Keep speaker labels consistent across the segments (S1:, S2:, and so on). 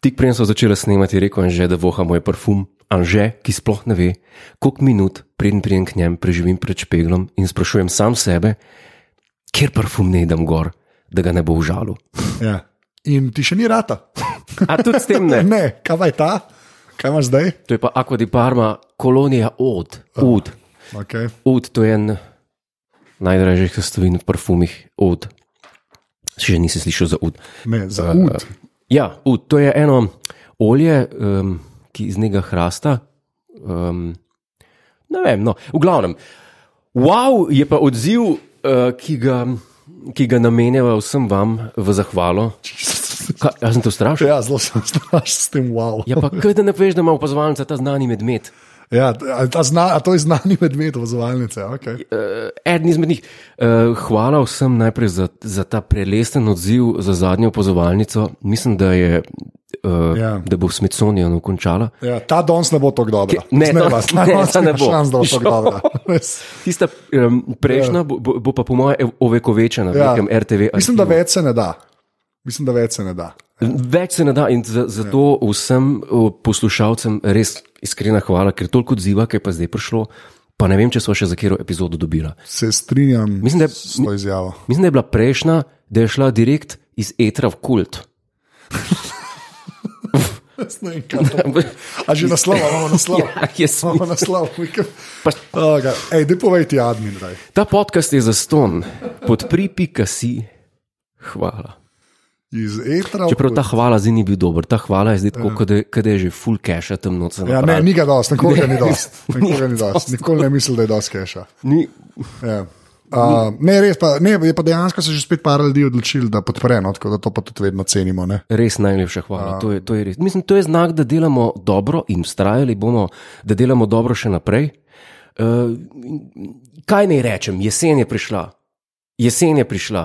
S1: Tik preden so začeli snemati, je rekel Anže, da voha moj parfum. Anže, ki sploh ne ve, koliko minut preden pridem k njem, preživim pred špeglom in sprašujem sam sebe, kjer parfum ne idem gor, da ga ne bo užalil.
S2: Ja. In ti še ni rata.
S1: A tudi s tem ne.
S2: ne, kaj pa je ta, kaj imaš zdaj?
S1: To je pa Aquadi Parma, kolonija od, od.
S2: Okay.
S1: Ud, to je en najdražjih sestavin v parfumih, ud. Še nisi slišal za ud.
S2: Ne, za ud.
S1: Ja, ud, to je eno olje, um, ki iz njega hrasta. Um, ne vem, no, v glavnem. Wow je pa odziv, uh, ki, ga, ki ga namenjava vsem vam v zahvalo. Kaj, jaz sem to strašil.
S2: Ja, zelo sem strašen s tem, wow.
S1: Ja, pa kaj da ne veš, da ima opazovalnica ta znani medmet.
S2: Ja, a, ta zna, a to je znani medved, opazovalnice. Okay.
S1: Eh, Eden izmed njih. Uh, hvala vsem najprej za, za ta prelesten odziv, za zadnjo opazovalnico. Mislim, da, je, uh,
S2: Ja.
S1: ja. da bo v Smithsonianu končala.
S2: Ja, ta danes ne bo tako dobra.
S1: Ki- ne,
S2: Zmeraj
S1: danes-
S2: vas, ta
S1: ne,
S2: danes
S1: ta ne
S2: nima
S1: bo.
S2: šans, da bo tako
S1: Žal.
S2: dobra. Res.
S1: Tista um, prejšnja bo, bo, bo pa, po mojem, ovekovečena
S2: Ja.
S1: ja. v nekem RTV.
S2: Mislim, da več se ne da. Mislim, da več se ne da.
S1: Več se ne da in za- zato ja. vsem o, poslušalcem res iskrena hvala, ker toliko odziva, ki je pa zdaj prišlo. Pa ne vem, če smo še za katero epizodo dobila.
S2: Se strinjam
S1: Mislim, da je-
S2: s to izjavo.
S1: Mislim, da je bila prejšnja, da je šla direkt iz etra v kult.
S2: Jaz ne vem, kaj to bo. A že naslov, imamo naslov.
S1: Ja, jaz
S2: Imamo naslov.
S1: Pa-
S2: Ej, da povej ti, admin. Daj.
S1: Ta podcast je za ston, podpri.ca si. Hvala.
S2: Iz etra. v
S1: Čeprav ta hvala zdaj ni bil dober, ta hvala je zdaj tako, kot da je- kot da je že full cache, temno se
S2: Ja, ne, ni ga dosti, nikoli ga ni dosti.
S1: Ni
S2: Nikoli, ga ni
S1: ga
S2: dosti. nikoli ne mislim, da je dosti keša.
S1: ni.
S2: Ja. Uh, ne, res pa, ne, je pa dejansko se že spet par ljudi odločil, da podpre, no, tako da to pa tudi vedno cenimo. Ne?
S1: Res najlepša hvala. To je, to je res. Mislim, to je znak, da delamo dobro in vztrajali bomo, da delamo dobro še naprej. Uh, kaj naj rečem, jesen je prišla. Jesen je prišla.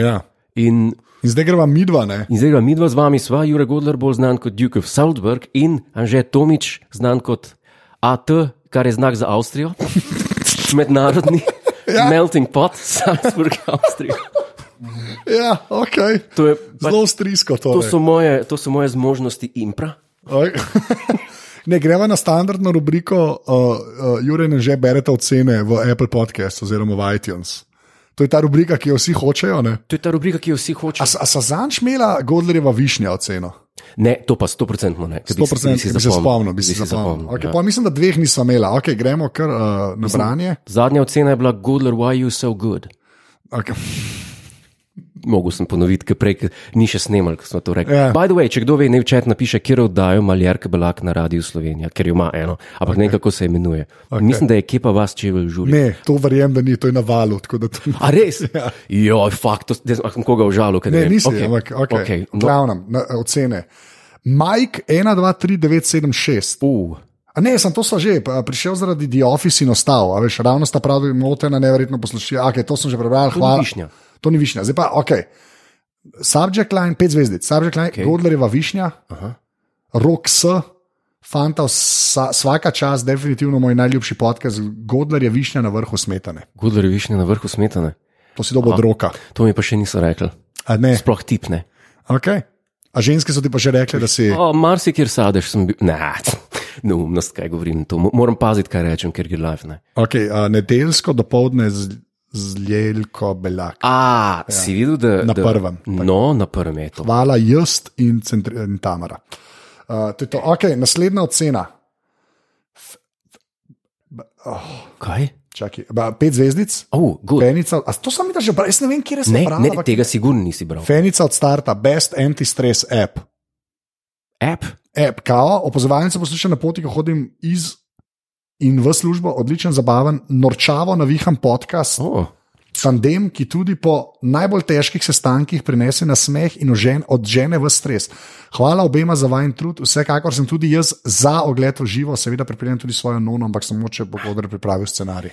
S2: Ja.
S1: In
S2: In zdaj greva midva, ne?
S1: In zdaj ga midva z vami sva, Jurek Godler, bolj znan kot Duke of Southburg in Anže Tomič, znan kot AT, kar je znak za Avstrijo, mednarodni ja. melting pot, Salzburg, Avstrija.
S2: Ja, ok.
S1: To, je, pač,
S2: Zelo torej. strijsko to.
S1: to, so moje, to so moje zmožnosti impra.
S2: Ne, greva na standardno rubriko, uh, uh, Jure ne že berete ocene v Apple Podcast oziroma v iTunes. To je ta rubrika, ki jo vsi hočejo. Ne?
S1: To je ta rubrika, ki jo vsi
S2: A,
S1: hočemo.
S2: s- a so zanj šmela Godlerjeva višnja oceno?
S1: Ne, to pa 100% ne. ker bi si-
S2: 100% bi se spomnil, bi si zapomnil. Okay,
S1: ja.
S2: ja. Mislim, da dveh nisem imela, okay, gremo kar uh, na branje.
S1: Zadnja ocena je bila Godler, why you so good.
S2: Okay.
S1: Mogel sem ponoviti, ker prej ker ni še snemal, ko smo to rekli.
S2: Ja.
S1: Yeah. By the way, če kdo ve, ne v čet napiše, kjer oddajo Maljarka Belak na Radiu Slovenija, ker jo ima eno, ampak okay. ne vem, kako se imenuje. Okay. Mislim, da je Kepa vas čevel žuri.
S2: Ne, to verjamem, da ni, to je na valu. tako da To...
S1: A res? Ja. Jo, fakt, to- da sem koga užalil. ker
S2: Ne,
S1: vem.
S2: nisi,
S1: Okej,
S2: okay. ampak okay. Okay.
S1: okej, no,
S2: glavnem, na, ocene. Mike 1, 2, 3, 9, 7, 6.
S1: uh,
S2: A ne, sem to sva že, pa prišel zaradi The Office in ostal. a Veš, ravno sta pravi motena, neverjetno poslušaj. Okay, to sem že prebral,
S1: ni
S2: hvala.
S1: višnja.
S2: To ni višnja. Zdaj pa, ok. Subject line, pet zvezdic, subject line, okay. Godlerjeva višnja, Aha. rok S, fanta, vsa- svaka čas, definitivno moj najljubši podcast, Godler je višnja na vrhu smetane.
S1: Gudler je višnja na vrhu smetane.
S2: To si dobo od roka.
S1: To mi pa še niso rekli.
S2: A ne,
S1: Sploh tipne.
S2: okay. A ženske so ti pa že rekle, da si.
S1: O, marsikjer sadeš sem bil. Ne, neumnost, kaj govorim. To. mo- Moram paziti, kaj rečem, ker je live. Ne.
S2: Okay, a, nedeljsko dopoledne z, z Ljelko Belak.
S1: A, ja. si videl, da.
S2: Na
S1: da,
S2: prvem, tako.
S1: No, na prvem je to.
S2: Hvala, jaz in, centri, in Tamara. Uh, to je to. Okay, naslednja ocena.
S1: Kaj?
S2: Čakaj, ba, pet zvezdic,
S1: Oh, good.
S2: fenica, a to sem videl že, prej, jaz ne vem, kje sem
S1: Ne,
S2: bral.
S1: ne
S2: ampak-
S1: tega sigurno nisi bral.
S2: Fenica od starta, best anti-stress app.
S1: App,
S2: App, kao, opozovalnice poslušam na poti, ko hodim iz in v službo, odličen, zabaven, norčavo navihan podcast.
S1: oh,
S2: Tandem, ki tudi po najbolj težkih sestankih prinese nasmeh in ožen, odžene v stres. Hvala obema za vajen trud, vsekakor sem tudi jaz za ogled v živo, seveda pripravljam tudi svojo nono, ampak samo če bo odre pripravil scenarij.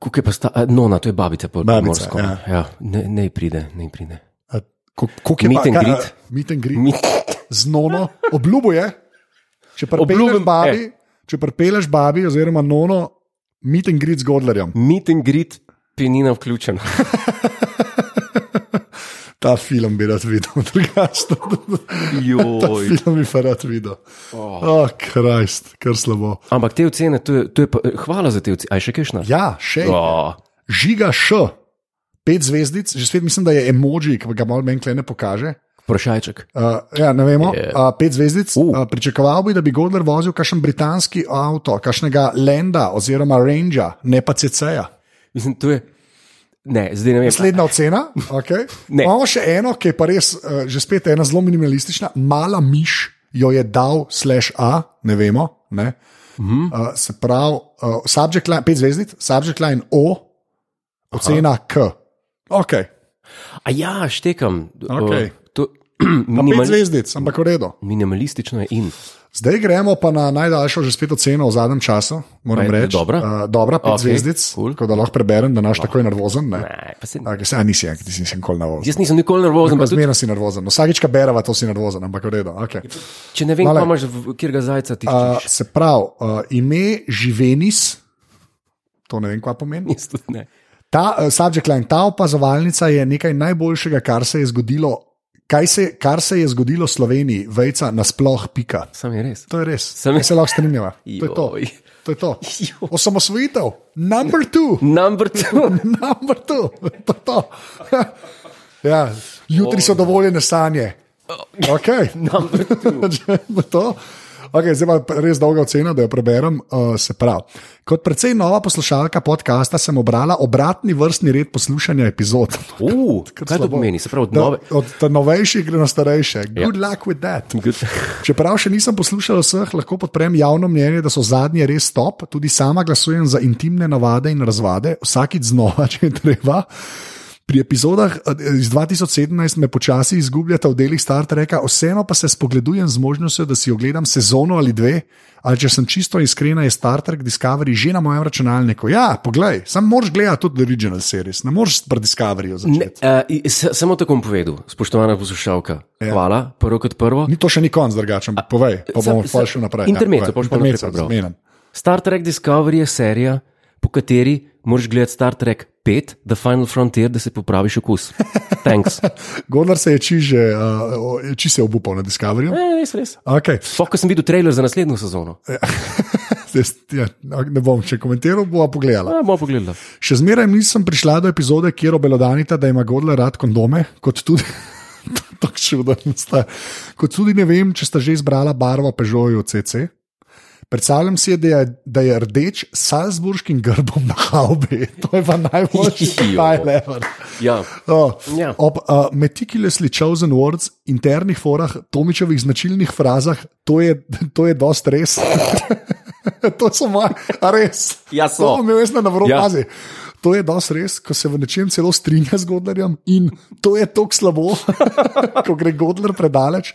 S1: kako je pa sta, a, nona, to je babica po
S2: Babica,
S1: primorsko.
S2: ja.
S1: Ja, ne, ne pride, ne pride.
S2: A ko- koliko je
S1: Meet
S2: pa-
S1: and
S2: kaj,
S1: greet.
S2: a, Meet and greet.
S1: Mi,
S2: Z nono, obljubo je, če pripeleš
S1: Obljubim,
S2: babi, če pripeleš babi oziroma nono, meet and greet z Godlerjem.
S1: meet and greet, penina vključena.
S2: Ta film bi rad videl, drugače. Ta
S1: Joj.
S2: film bi pa rad videl. Oh, krajst, kar slabo.
S1: Ampak te ocene, to je, to je pa, hvala za te ocene. Aj še kakšna?
S2: Ja, še
S1: Oh,
S2: enkrat. Žiga Š, pet zvezdic, že spet mislim, da je emoji, ki ga malo meni klene pokaže.
S1: Vprašajček.
S2: Uh, ja, ne vemo,
S1: Je.
S2: yeah. uh, pet zvezdic.
S1: Uh.
S2: Uh. Uh, pričakoval bi, da bi Godler vozil kakšen britanski avto, kakšnega Lenda oziroma Rangera, ne pa CC-ja.
S1: Mislim, to je. Ne, zdaj ne vem.
S2: Naslednja ocena. Okay.
S1: Ne.
S2: Imamo še eno, ki je pa res, uh, že spet ena zelo minimalistična, mala miš jo je dal, slash A, ne vemo. Ne?
S1: Mhm.
S2: Uh -huh. uh, se pravi, uh, subject line, pet zvezdic, subject line O, ocena Aha. K. Okay.
S1: A ja, štekam.
S2: Okej.
S1: O, to,
S2: Pet
S1: minimal,
S2: zvezdic, ampak v redu.
S1: minimalistično je in.
S2: Zdaj gremo pa na najdaljšo, že spet oceno v zadnjem času.
S1: Pa
S2: Moram
S1: je
S2: reči,
S1: dobra?
S2: Uh, dobra, pet
S1: Okej,
S2: okay, zvezdic,
S1: cool.
S2: cool. tako da lahko preberem, da naš tako je nervozen. Ne?
S1: Ne, pa se,
S2: Okay, saj nisi, enkrat, ti si nikoli nervozen.
S1: jaz nisem nikoli nervozen, pa tudi,
S2: Zmerno si nervozen. No, Vsakič, ko bereva, to si nervozen, ampak v redu. Okay.
S1: če ne vem,
S2: Male.
S1: kam imaš, v- kjer ga zajca ti
S2: Uh,
S1: tiče.
S2: se pravi, uh, ime Živenis, to ne vem, kaj pomeni.
S1: Jaz tudi ne.
S2: Ta uh, subject line, ta opazovalnica je nekaj najboljšega, kar se je zgodilo. Kaj se, kar se je zgodilo Sloveniji, vejca nasploh, pika.
S1: Sam je res.
S2: To je res.
S1: Sem-
S2: Sem... Se lahko strinjava. To je to.
S1: Joj.
S2: to, je to.
S1: Joj.
S2: Osamosvojitev, number two,
S1: Number two.
S2: number two. To je to. Ja. Jutri so dovoljene sanje. Okay.
S1: Oh. Number
S2: Bo to? Okay, zdaj pa res dolga ocena, da jo preberem. Uh, se pravi, kot precej nova poslušalka podcasta sem obrala obratni vrstni red poslušanja epizod.
S1: Uh, kaj to
S2: slabo.
S1: pomeni? Se pravi, od
S2: Da,
S1: nove.
S2: od ta novejših gre na starejše. Good ja. luck with that. Čeprav še nisem poslušala vseh, lahko podprem javno mnenje, da so zadnje res top. Tudi sama glasujem za intimne navade in razvade, vsakič znova, če je treba. Pri epizodah eh, iz 2017 me počasi izgubljata v delih Star Treka, vseeno pa se spogledujem z možnostjo, da si ogledam sezono ali dve. Ali če sem čisto iskrena, je Star Trek Discovery že na mojem računalniku. Ja, poglej, sam moraš gledati tudi original series, ne moreš pred Discoveryjo
S1: Ne,
S2: začeti.
S1: uh, samo tako bom povedal, spoštovana poslušalka. Ja. Hvala, prvo kot prvo.
S2: Ni to še ni konc, drugačen, povej, pa
S1: Sam-
S2: bomo pa
S1: sam-
S2: še naprej.
S1: intermezzo,
S2: ja,
S1: pa boš pa
S2: intermezzo,
S1: naprej prebral.
S2: zmenim.
S1: Star Trek Discovery je serija, po kateri moraš gledati Star Trek 5, The Final Frontier, da se popraviš okus. Thanks.
S2: Godler se je čiže, uh, či se je obupal na Discoveryju.
S1: Ne, res, Ja. res.
S2: Okay.
S1: Sploh, ko sem videl trailer za naslednjo sezono.
S2: Zdaj, ja, ne bom še komentiral, bova pogledala.
S1: Ja, bomo pogledali.
S2: Še zmeraj nisem prišla do epizode, kjer obelodanita, da ima Godler rad kondome, kot tudi. Tako čudno sta. Kot tudi ne vem, če sta že izbrala barvo Peugeotu CC. Predstavljam si, da je, da je rdeč s salzburškim grbom na haubi. To je pa najboljši
S1: Jo.
S2: detajl ever.
S1: Ja.
S2: Oh,
S1: Ja.
S2: ja. Ob uh, meticulously chosen words, internih forah, Tomičevih značilnih frazah, to je, to je dost res. to so moje, a res.
S1: Ja, so.
S2: To bom imel jaz na vrhu
S1: Ja.
S2: ja. pazi. To je dost res, ko se v nečem celo strinja z Godlerjem in to je tako slabo, ko gre Godler predaleč,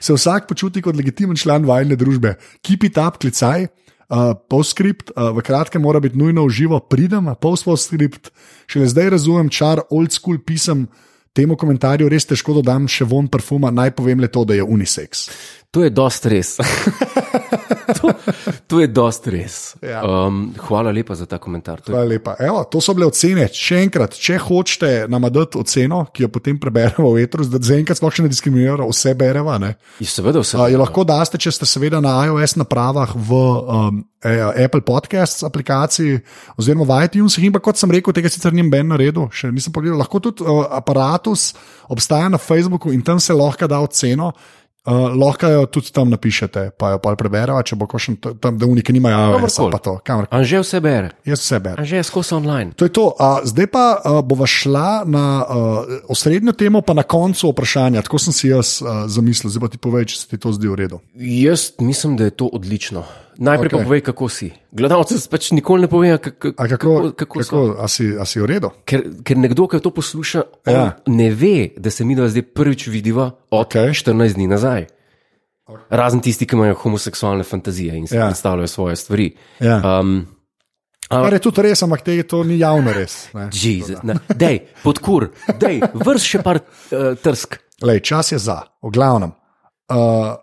S2: se vsak počuti kot legitimen član vajne družbe. Keep it up, klicaj. Uh, Postscript, uh, v kratkem mora biti nujno v živo, pridem, postscript. Šele zdaj razumem čar old school pisem, temu komentarju res težko dodam še von parfuma, naj povem le to, da je unisex.
S1: To je dost res. to, to je dost res.
S2: Ja.
S1: Um, hvala lepa za ta komentar. To je,
S2: Hvala lepa. Evo, to so bile ocene. Še enkrat, če hočete nam dati oceno, ki jo potem preberemo v etru, da zaenkrat sploh še ne diskriminiramo, vse bereva. Ne?
S1: je seveda vse.
S2: A, jo lahko daste, če ste seveda na iOS napravah v um, e, Apple Podcasts aplikaciji oziroma v iTunesih. In pa kot sem rekel, tega sicer ni Ben naredil, še nisem pogledal. Lahko tudi uh, aparatus obstaja na Facebooku in tam se lahko da oceno. Uh, lahko jo tudi tam napišete, pa jo pa preberemo, če bo kakšen t- tam, da uniki nimajo, iOS-a,
S1: Kamorkoli.
S2: pa to, kamor.
S1: Anže vse bere,
S2: Jaz vse berem.
S1: anže je skozi online.
S2: To je to. A, zdaj pa a, bova šla na a, osrednjo temo, pa na koncu vprašanja. Tako sem si jaz a, zamislil, zdaj pa ti povej, če se ti to zdi v redu.
S1: Jaz mislim, da je to odlično. Najprej okay. pa
S2: Okej.
S1: povej, kako si. Gledalci pač nikoli ne povejo, kako,
S2: A kako,
S1: kako, kako,
S2: kako a si, a si v redu?
S1: Ker, ker nekdo, ki to posluša, ja.
S2: Ja.
S1: ne ve, da se mi dva zdaj prvič vidiva od okay.
S2: Okej.
S1: 14 dni nazaj. Razen tisti, ki imajo homoseksualne fantazije in si ja.
S2: Ja.
S1: predstavljajo svoje stvari.
S2: Ja.
S1: Um,
S2: Kar je tudi res, ampak te to ni javno res. ne.
S1: Jezus, ne, dej, podkur, dej, vrš še par uh, trsk.
S2: Lej, čas je za, v glavnem. Uh,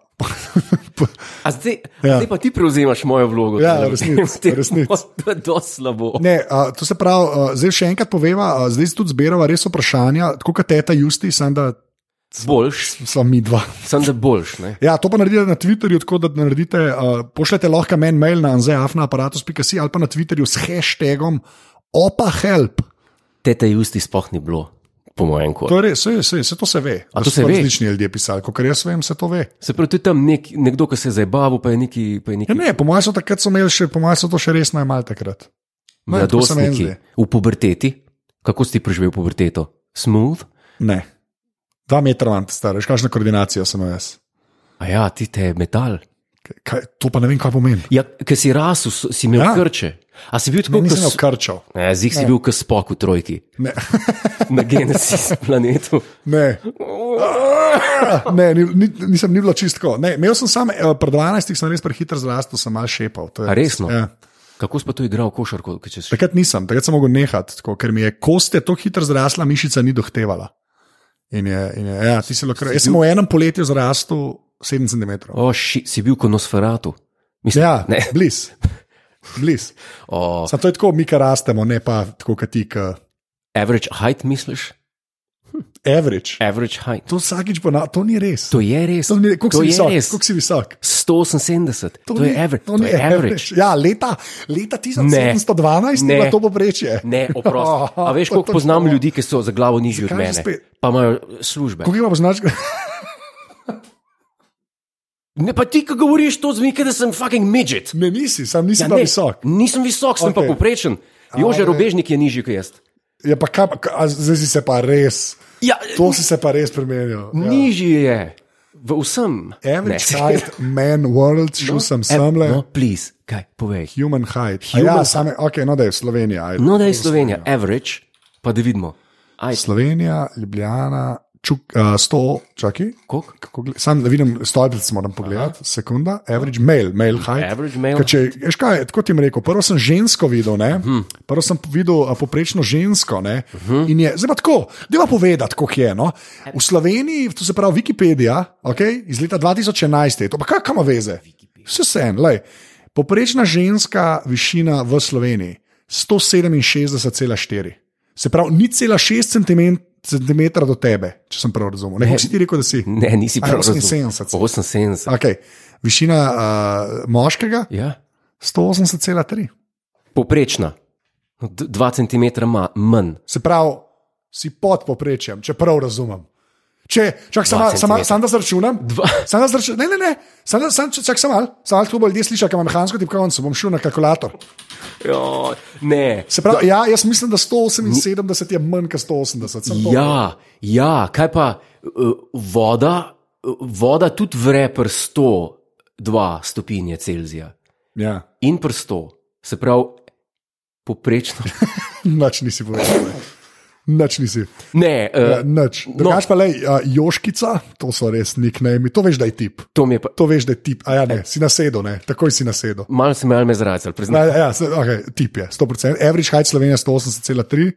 S1: A zdaj,
S2: Ja.
S1: ja. zdaj pa ti prevzemaš mojo vlogo.
S2: Ja,
S1: tole v
S2: resnic,
S1: tem- v tem
S2: resnic.
S1: bo- To je dosti slabo.
S2: Ne, a, to se pravi, a, zdaj še enkrat poveva, a, zdaj si tudi zbirava res vprašanja, tako kot teta Justi, samo da
S1: Boljš,
S2: smo mi dva.
S1: sem da boljš. Ne?
S2: Ja, to pa naredite na Twitterju, tako da naredite, uh, pošljete lahko meni mail na anzeafnaaparatus.si ali pa na Twitterju s hashtagom opahelp.
S1: Tete justi sploh ni bilo, po mojem kodu.
S2: To je res, se, se, se to se ve.
S1: A to
S2: Da so
S1: se ve?
S2: Različni ljudje pisali, kot jaz vem, se to ve.
S1: Se pravi, to je tam nek, nekdo, ki se je zabaval, pa je neki, pa je neki
S2: Ja, ne, po mojem so takrat so imeli še, po mojem so to še resno imeli takrat. ne, tako se meni
S1: mladostniki
S2: zdi.
S1: v puberteti. Kako si ti preživel puberteto? Smooth?
S2: Ne. Dva metra vam stareš, kakšno koordinacijo sem imel jaz.
S1: A ja, ti te je metal.
S2: Kaj, to pa ne vem, kaj pomeni.
S1: Ja, ker si rasel, so- si imel
S2: Ja.
S1: ja. krče. A si bil
S2: Ne,
S1: tako
S2: nisem
S1: kot
S2: okrčal.
S1: Ne, zig si bil kot spok v trojki
S2: Ne,
S1: na Genesis planetu.
S2: ne. ne ni, ni, nisem ni bilo čistko. Ne, imel sem sam, eh, pri 12 sem res prehiter zrastel, sem mal šepal. to
S1: A
S2: je
S1: no? resno?
S2: Ja.
S1: Kako si pa to igral, košarko? ko čez-
S2: Takrat nisem, takrat sem mogel nehati, tako, ker mi je kost je tako hitro zrasla, mišica ni dohtevala. In je, in je, ja, ti si lahko. Jaz sem v enem poletju zrastel 7 cm.
S1: O, ši, si bil kot Nosferatu. Mislim,
S2: Ja,
S1: ne. No.
S2: bliz. bliz.
S1: O,
S2: Samo to je tako, mi, ki rastemo, ne pa tako, kot ti, ki
S1: average height misliš?
S2: average.
S1: Average height.
S2: To vsakič bo, na, to ni res.
S1: E. To je res.
S2: To ni, koliko
S1: To
S2: si
S1: je
S2: visok?
S1: res.
S2: Koliko si visok?
S1: 178, to, to je
S2: ni-
S1: average.
S2: To ni average. Ja, leta, leta
S1: Ne.
S2: 1712 je bilo to poprečje.
S1: Ne, oprosti. A veš,
S2: To
S1: koliko
S2: to
S1: poznam
S2: to.
S1: ljudi, ki so za glavo nižji od
S2: Zakaj že
S1: mene,
S2: spet?
S1: pa imajo službe.
S2: Koliko imaš značka?
S1: Ne, pa ti, ki govoriš to zmike, da sem fucking midget.
S2: Ne, nisi, sam nisi ja,
S1: ne,
S2: visok.
S1: Nisem visok, sem
S2: Okej.
S1: pa poprečen. Jože
S2: okej.
S1: Robežnik je nižji kot jaz.
S2: Ja, pa kam, ka- a zdaj si se pa res,
S1: Ja,
S2: to si se pa res premenil. Ja.
S1: nižji je. V vsem.
S2: Average
S1: Ne.
S2: height, man, world, šel sem
S1: Ev-
S2: sem le.
S1: No, please, kaj povej.
S2: Human height. A
S1: Human
S2: ja, same, ok, no da je Slovenija. ajde.
S1: No, da je Slovenija, average, pa da vidimo. Aj,
S2: Slovenija, Ljubljana, čuk, uh, 100, čakaj.
S1: koliko?
S2: Kako gled- Sam da vidim, stolpec moram pogledati, sekunda, average male, male height.
S1: Average male
S2: Ker Če, veš kaj, tako ti jim rekel, prvo sem žensko videl, ne? prvo sem videl a, poprečno žensko. Ne? In je, zdaj pa tako, da pa povedati, kako je. No? V Sloveniji, to se pravi Wikipedija, okay? iz leta 2011 je to, pa kaj ima veze? Vse se en, lej. Poprečna ženska višina v Sloveniji 167,4. Se pravi, ni cela 6 cm do tebe, če sem prav razumel. Ne, kako si ti rekel, da si?
S1: Ne, nisi
S2: Aj,
S1: prav.
S2: 78.
S1: razumel. 78.
S2: Okay. Višina uh, moškega
S1: Ja.
S2: 180,3.
S1: Poprečna. 2 cm manj.
S2: Se pravi, si pod poprečjem, če prav razumem. Če, čak,
S1: Dva
S2: sama, sama,
S1: centimetra.
S2: sam da zračunam. Sam da zračunam, ne, ne, ne, sam da, sam, čak, sam al, sam al, to bo ljudje slišali, ker imam mehansko tipkovnico, bom šel na kalkulator.
S1: Jo, ne.
S2: Se pravi, ja, jaz mislim, da 178 je manj kot 180. sem to-
S1: Ja, ja, kaj pa eh, voda? eh, Voda tudi vre pri 102 stopinje Celzija
S2: ja.
S1: in pri 100, se pravi, poprečno.
S2: Nač nisi povedal. ne. Nač nisi.
S1: Ne,
S2: Ja,
S1: eh,
S2: Nač. Drugač pa le, uh, Joškica, to so res nicknami, to veš, da je tip.
S1: to mi je pa,
S2: To veš, da je tip. A ja, ne, si nasedel, ne, takoj si nasedel.
S1: malo se me alme zrajcal,
S2: Ja,
S1: priznam.
S2: ja, ja, se- okay, tip je, 100%. Average height Slovenija 180,3.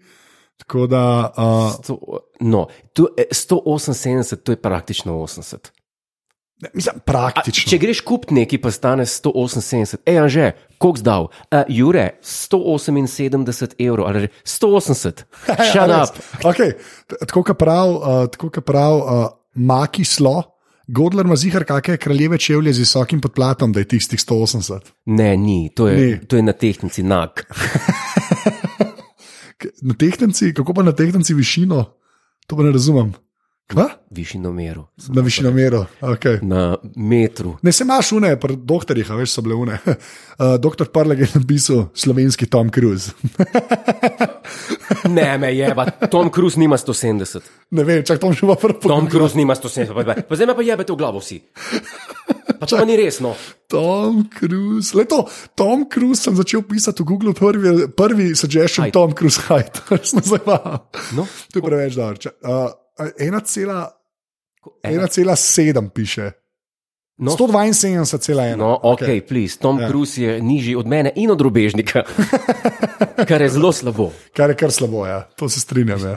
S2: Tako da, uh,
S1: To- No, to, eh, 178, to je praktično 80.
S2: ne, mislim,
S1: A,
S2: praktično.
S1: če greš kup neki, pa stane 178, ej, anže, koliko zdal, uh, Jure, 178 evrov, ali že 180, shut
S2: Ja, res.
S1: up.
S2: Okay. t- Tako kot prav, uh, tako kot prav uh, maki slo, Godler ima zihar, kakšne kraljeve čevlje z visokim podplatom, da je tistih 180.
S1: Ne, ni, to je,
S2: Ni.
S1: ni. To je na tehnici nag.
S2: K- Na tehnici, kako pa na tehnici višino, to pa ne razumem. Kva?
S1: višinomeru,
S2: Na višino mero. Okay.
S1: na metru.
S2: Ne, se imaš une, pri doktorjih, a veš, so bile une. Uh, doktor Prleg je napisal slovenski Tom Cruise.
S1: Ne, me je, Tom Cruise nima 170,
S2: Ne vem, čak tam že bo prvo.
S1: Tom Cruise nima 170, pa, pa, pa zdaj me pa jebete v glavo vsi. Pa to pa ni no. resno.
S2: Tom Cruise. Le to, Tom Cruise sem začel pisati v Google, prvi, prvi suggestion
S1: Height.
S2: Tom Cruise Hyde, resno zabaval.
S1: No,
S2: To je preveč dobro. Ča- Uh, 1,7
S1: ena-
S2: piše.
S1: No.
S2: 172,1.
S1: No, ok, okay. please. Tom ja. Cruise je nižji od mene in od robežnika, kar je zelo slabo.
S2: Kar je kar slabo, ja. to se strinjam. Ja.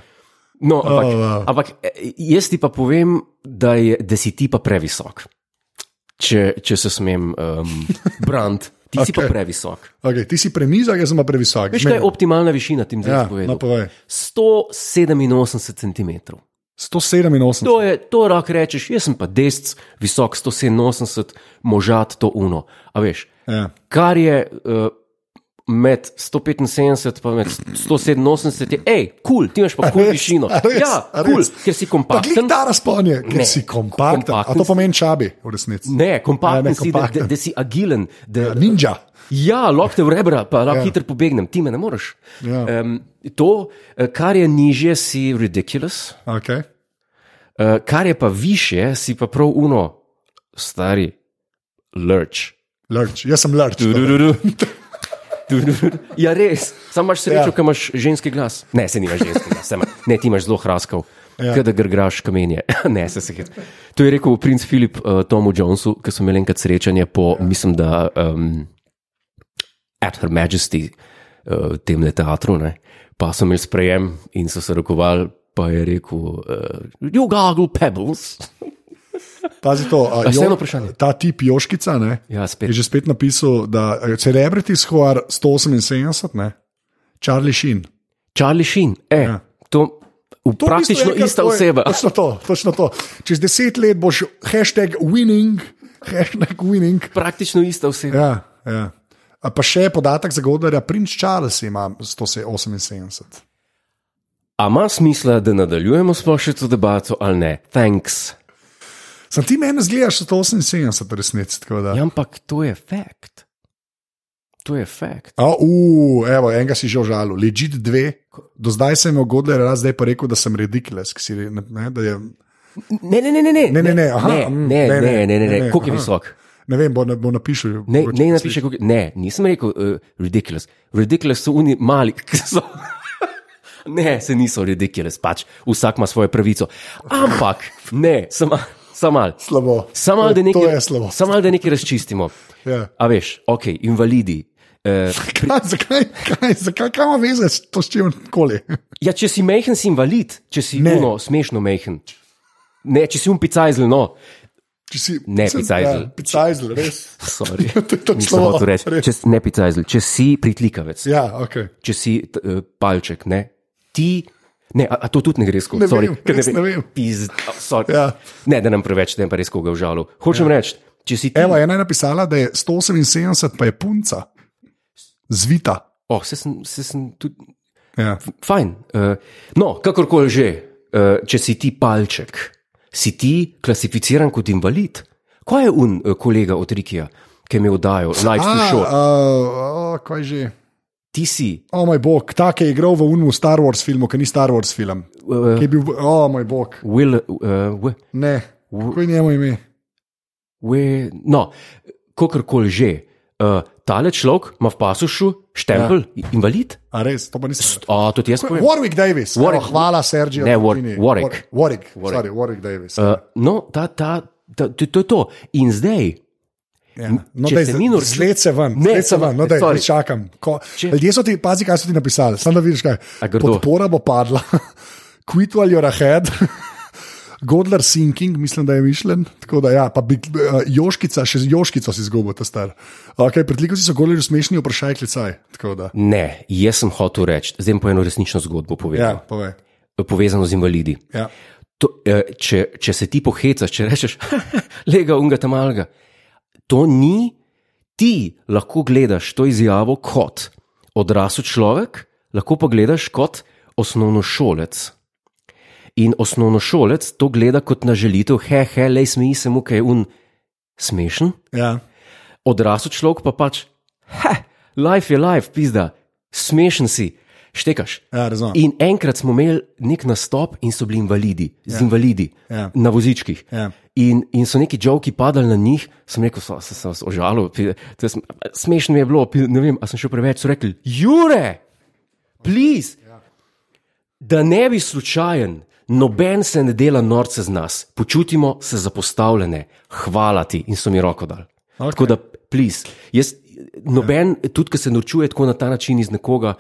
S1: No, ampak,
S2: Oh,
S1: oh,
S2: wow.
S1: wow. ampak eh, jaz ti pa povem, da, je, da si ti pa previsok. če, če se smem, um, brand, ti okay. si pa
S2: Okej.
S1: previsok.
S2: Okay, ti si prenizak, jaz sem pa previsok.
S1: Veš, kaj je optimalna višina, ti bom zdaj
S2: Ja,
S1: ja, povedal?
S2: no, povej.
S1: 187 cm.
S2: 187.
S1: No, To je, to lahko rečeš, jaz sem pa desc, visok 187, možat to uno. A veš,
S2: Ja.
S1: kar je uh, med 175 in 187, je, hej, kul, cool, ti imaš pa kul cool višino.
S2: A res,
S1: ja,
S2: a
S1: kul, cool,
S2: res?
S1: ker si
S2: Pa glej,
S1: kompakten.
S2: ta razpon je, ker
S1: Ne,
S2: si kompakten. A
S1: kompakten
S2: to
S1: si.
S2: pomeni čabi, v resnici.
S1: Ne, kompakten,
S2: Ja, ne,
S1: ne, kompakten. Si, da, da,
S2: kompakten.
S1: da si agilen. Da, ja,
S2: Ninja.
S1: Ja, lahko te vrebra, pa lahko
S2: Ja.
S1: ja. hitro pobegnem, ti me ne moreš.
S2: Ja.
S1: Um, to, eh, kar je nižje, si ridiculous,
S2: Okay.
S1: uh, kar je pa više, si pa prav uno, stari, lurch.
S2: Lurč. Jaz sem torej. lurč.
S1: Tudurudu. Tudurudu. Ja, res, sam imaš srečo,
S2: Ja.
S1: ja. ker imaš ženski glas. Ne, se nimaš ženski glas, saj ima- ne, ti imaš zelo hraskav.
S2: Ja.
S1: Ja. Kaj da grgraš kamenje, ne se se hitro. To je rekel princ Filip uh, Tomu Jonesu, ki so imeli enkrat srečanje po, ja. mislim, da um, At Her Majesty, uh, tem ne teatru, ne? pa so imeli sprejem in so se rokovali, pa je rekel, uh, you goggle pebbles.
S2: Pazi to. a
S1: A še
S2: Jo-
S1: eno vprašanje?
S2: Ta tip Joškica ne,
S1: Ja,
S2: je
S1: spet.
S2: že spet napisal, da eh, Celebrity Square 178, ne, Charlie Sheen.
S1: Charlie Sheen, e, ja. to, to
S2: To v bistvu
S1: praktično
S2: enkrat
S1: ista
S2: tvoj-
S1: oseba.
S2: Točno to, točno to. Čez deset let boš hashtag winning, hashtag winning.
S1: praktično ista oseba. Ja.
S2: Ja, ja. A pa še podatek za Godarja, princ Charles ima 178.
S1: A ima smisla, da nadaljujemo sploh še to debato ali ne? Thanks.
S2: Sam ti meni zgledaš 178, resnici.
S1: Ja,
S2: Ja.
S1: ampak to je fakt. To je fakt.
S2: A, uh, evo, enega si že žalil, ležit dve. Do zdaj sem imel Godler, raz zdaj pa rekel, da sem redikeles. Ne, da je,
S1: Ne, ne, ne, ne, ne,
S2: Ne, ne, ne, aha,
S1: ne,
S2: mm,
S1: ne, ne,
S2: ne, ne,
S1: ne, ne,
S2: ne,
S1: ne. koliko je
S2: aha.
S1: visok.
S2: ne vem, bo, na- bo napišel.
S1: Ne,
S2: mogoče
S1: ne,
S2: bo
S1: napiše, koliko, ne, nisem rekel uh, ridiculous. Ridiculous so oni mali, ki so. Ne, se niso ridiculous, pač vsak ima svojo pravico. Ampak, ne, samo sam mal.
S2: Slabo.
S1: Samo malo,
S2: To-
S1: da nekaj,
S2: To je slabo.
S1: samo malo, da nekaj razčistimo.
S2: Ja.
S1: A veš, ok, invalidi. Uh,
S2: Kaj, zakaj, kaj, zakaj, kaj ima veze s to s čim koli?
S1: Ja, če si mehen, si invalid, če si
S2: Ne.
S1: uno, smešno mehen. Ne, če si um picajzel, no,
S2: Če si-
S1: Ne,
S2: sem-
S1: picajzel.
S2: Ja, picajzel, res.
S1: sorry.
S2: To je tako
S1: Nisem
S2: slabo,
S1: hotel reči.
S2: res.
S1: Če, s- ne picajzel, če si pritlikavec, ja.
S2: Ja, ok.
S1: če si t, eh, palček, ne, ti. Ne, a, a to tudi ne gre skozi.
S2: Ne
S1: sorry,
S2: vem,
S1: ker
S2: res ne vem.
S1: Pizd, a, sorry.
S2: Ja.
S1: Ne, da nam preveč, da nam pa res koga užalil. Hočem ja. reči, če si ti.
S2: Evo, ena je napisala, da je 178, pa je punca, zvita.
S1: Oh, se sem, se sem tudi.
S2: Ja.
S1: Fajn. Uh, no, kakorkoli že, uh, če si ti palček, si ti klasificiran kot invalid. Kaj je un uh, kolega od Rikija, ki mi oddajo Life to Show?
S2: a, a, kaj že?
S1: Ti si,
S2: O moj bog, ta, ki je igral v Unmu Star Wars filmu, ki ni Star Wars film.
S1: uh,
S2: Ki je bil, o moj bog,
S1: Will, uh, we,
S2: ne, kako je njemu ime.
S1: we, no, kakorkoli že, uh, tale človek ima v pasušu štempel, ja. invalid.
S2: A res, to pa nisem. vedel.
S1: A, to ti jaz povem.
S2: Warwick Davis,
S1: Warwick-
S2: Warwick. Evo, hvala Sergio.
S1: Ne, War-
S2: Tarantini.
S1: Warwick.
S2: War- Warwick. Warwick.
S1: Warwick.
S2: Sorry, Warwick Davis.
S1: Uh, no, ta, ta, ta, to, to je to. In zdaj.
S2: Ja. No,
S1: če
S2: daj,
S1: se
S2: zdaj-
S1: mi norču-
S2: Zled se ven,
S1: Ne,
S2: zled se ven, no, daj,
S1: sorry.
S2: daj, čakam. Ko,
S1: Če-
S2: ljudje so ti, pazi, kaj so ti napisali, samo da vidiš kaj.
S1: A grdo?
S2: Podpora bo padla, quit while you're ahead. Godler sinking, mislim, da je mišljen. Tako da, ja, pa bi, uh, Joškica, še z Joškico si izgubil, ta star. Okay, Pretlikavci so govorili smešni, vprašaj klicaj. Tako da,
S1: Ne, jaz sem hotel reči, zdaj bom pa eno resnično zgodbo
S2: ja,
S1: povedal,
S2: povej.
S1: ja. povezano z invalidi.
S2: Ja.
S1: To, eh, če, če se ti pohecaš, če rečeš, lega unga tam alga, to ni, ti lahko gledaš to izjavo kot odrasel človek, lahko pa gledaš kot osnovnošolec. In osnovnošolec to gleda kot na želitev, he, he, le smeji se mu, kaj je un smešen.
S2: Ja.
S1: Odrasel človek pa pač, he, life je life, pizda, smešen si, štekaš.
S2: Ja, razumem.
S1: In enkrat smo imeli nek nastop in so bili invalidi, ja. z invalidi
S2: Ja.
S1: ja. na vozičkih.
S2: Ja.
S1: In, in so neki žoki padali na njih, sem rekel, so, so, so, so ožalil, pi- to je sm- smešno mi je bilo, pi- ne vem, ali sem še preveč, so rekli, Jure, please, da ne bi slučajen, noben se ne dela norce z nas, počutimo se zapostavljene, hvala ti in so mi roko dali.
S2: Okej.
S1: Okay. Tako da, plis. Jaz, noben, ja. tudi ki se norčuje tako na ta način iz nekoga,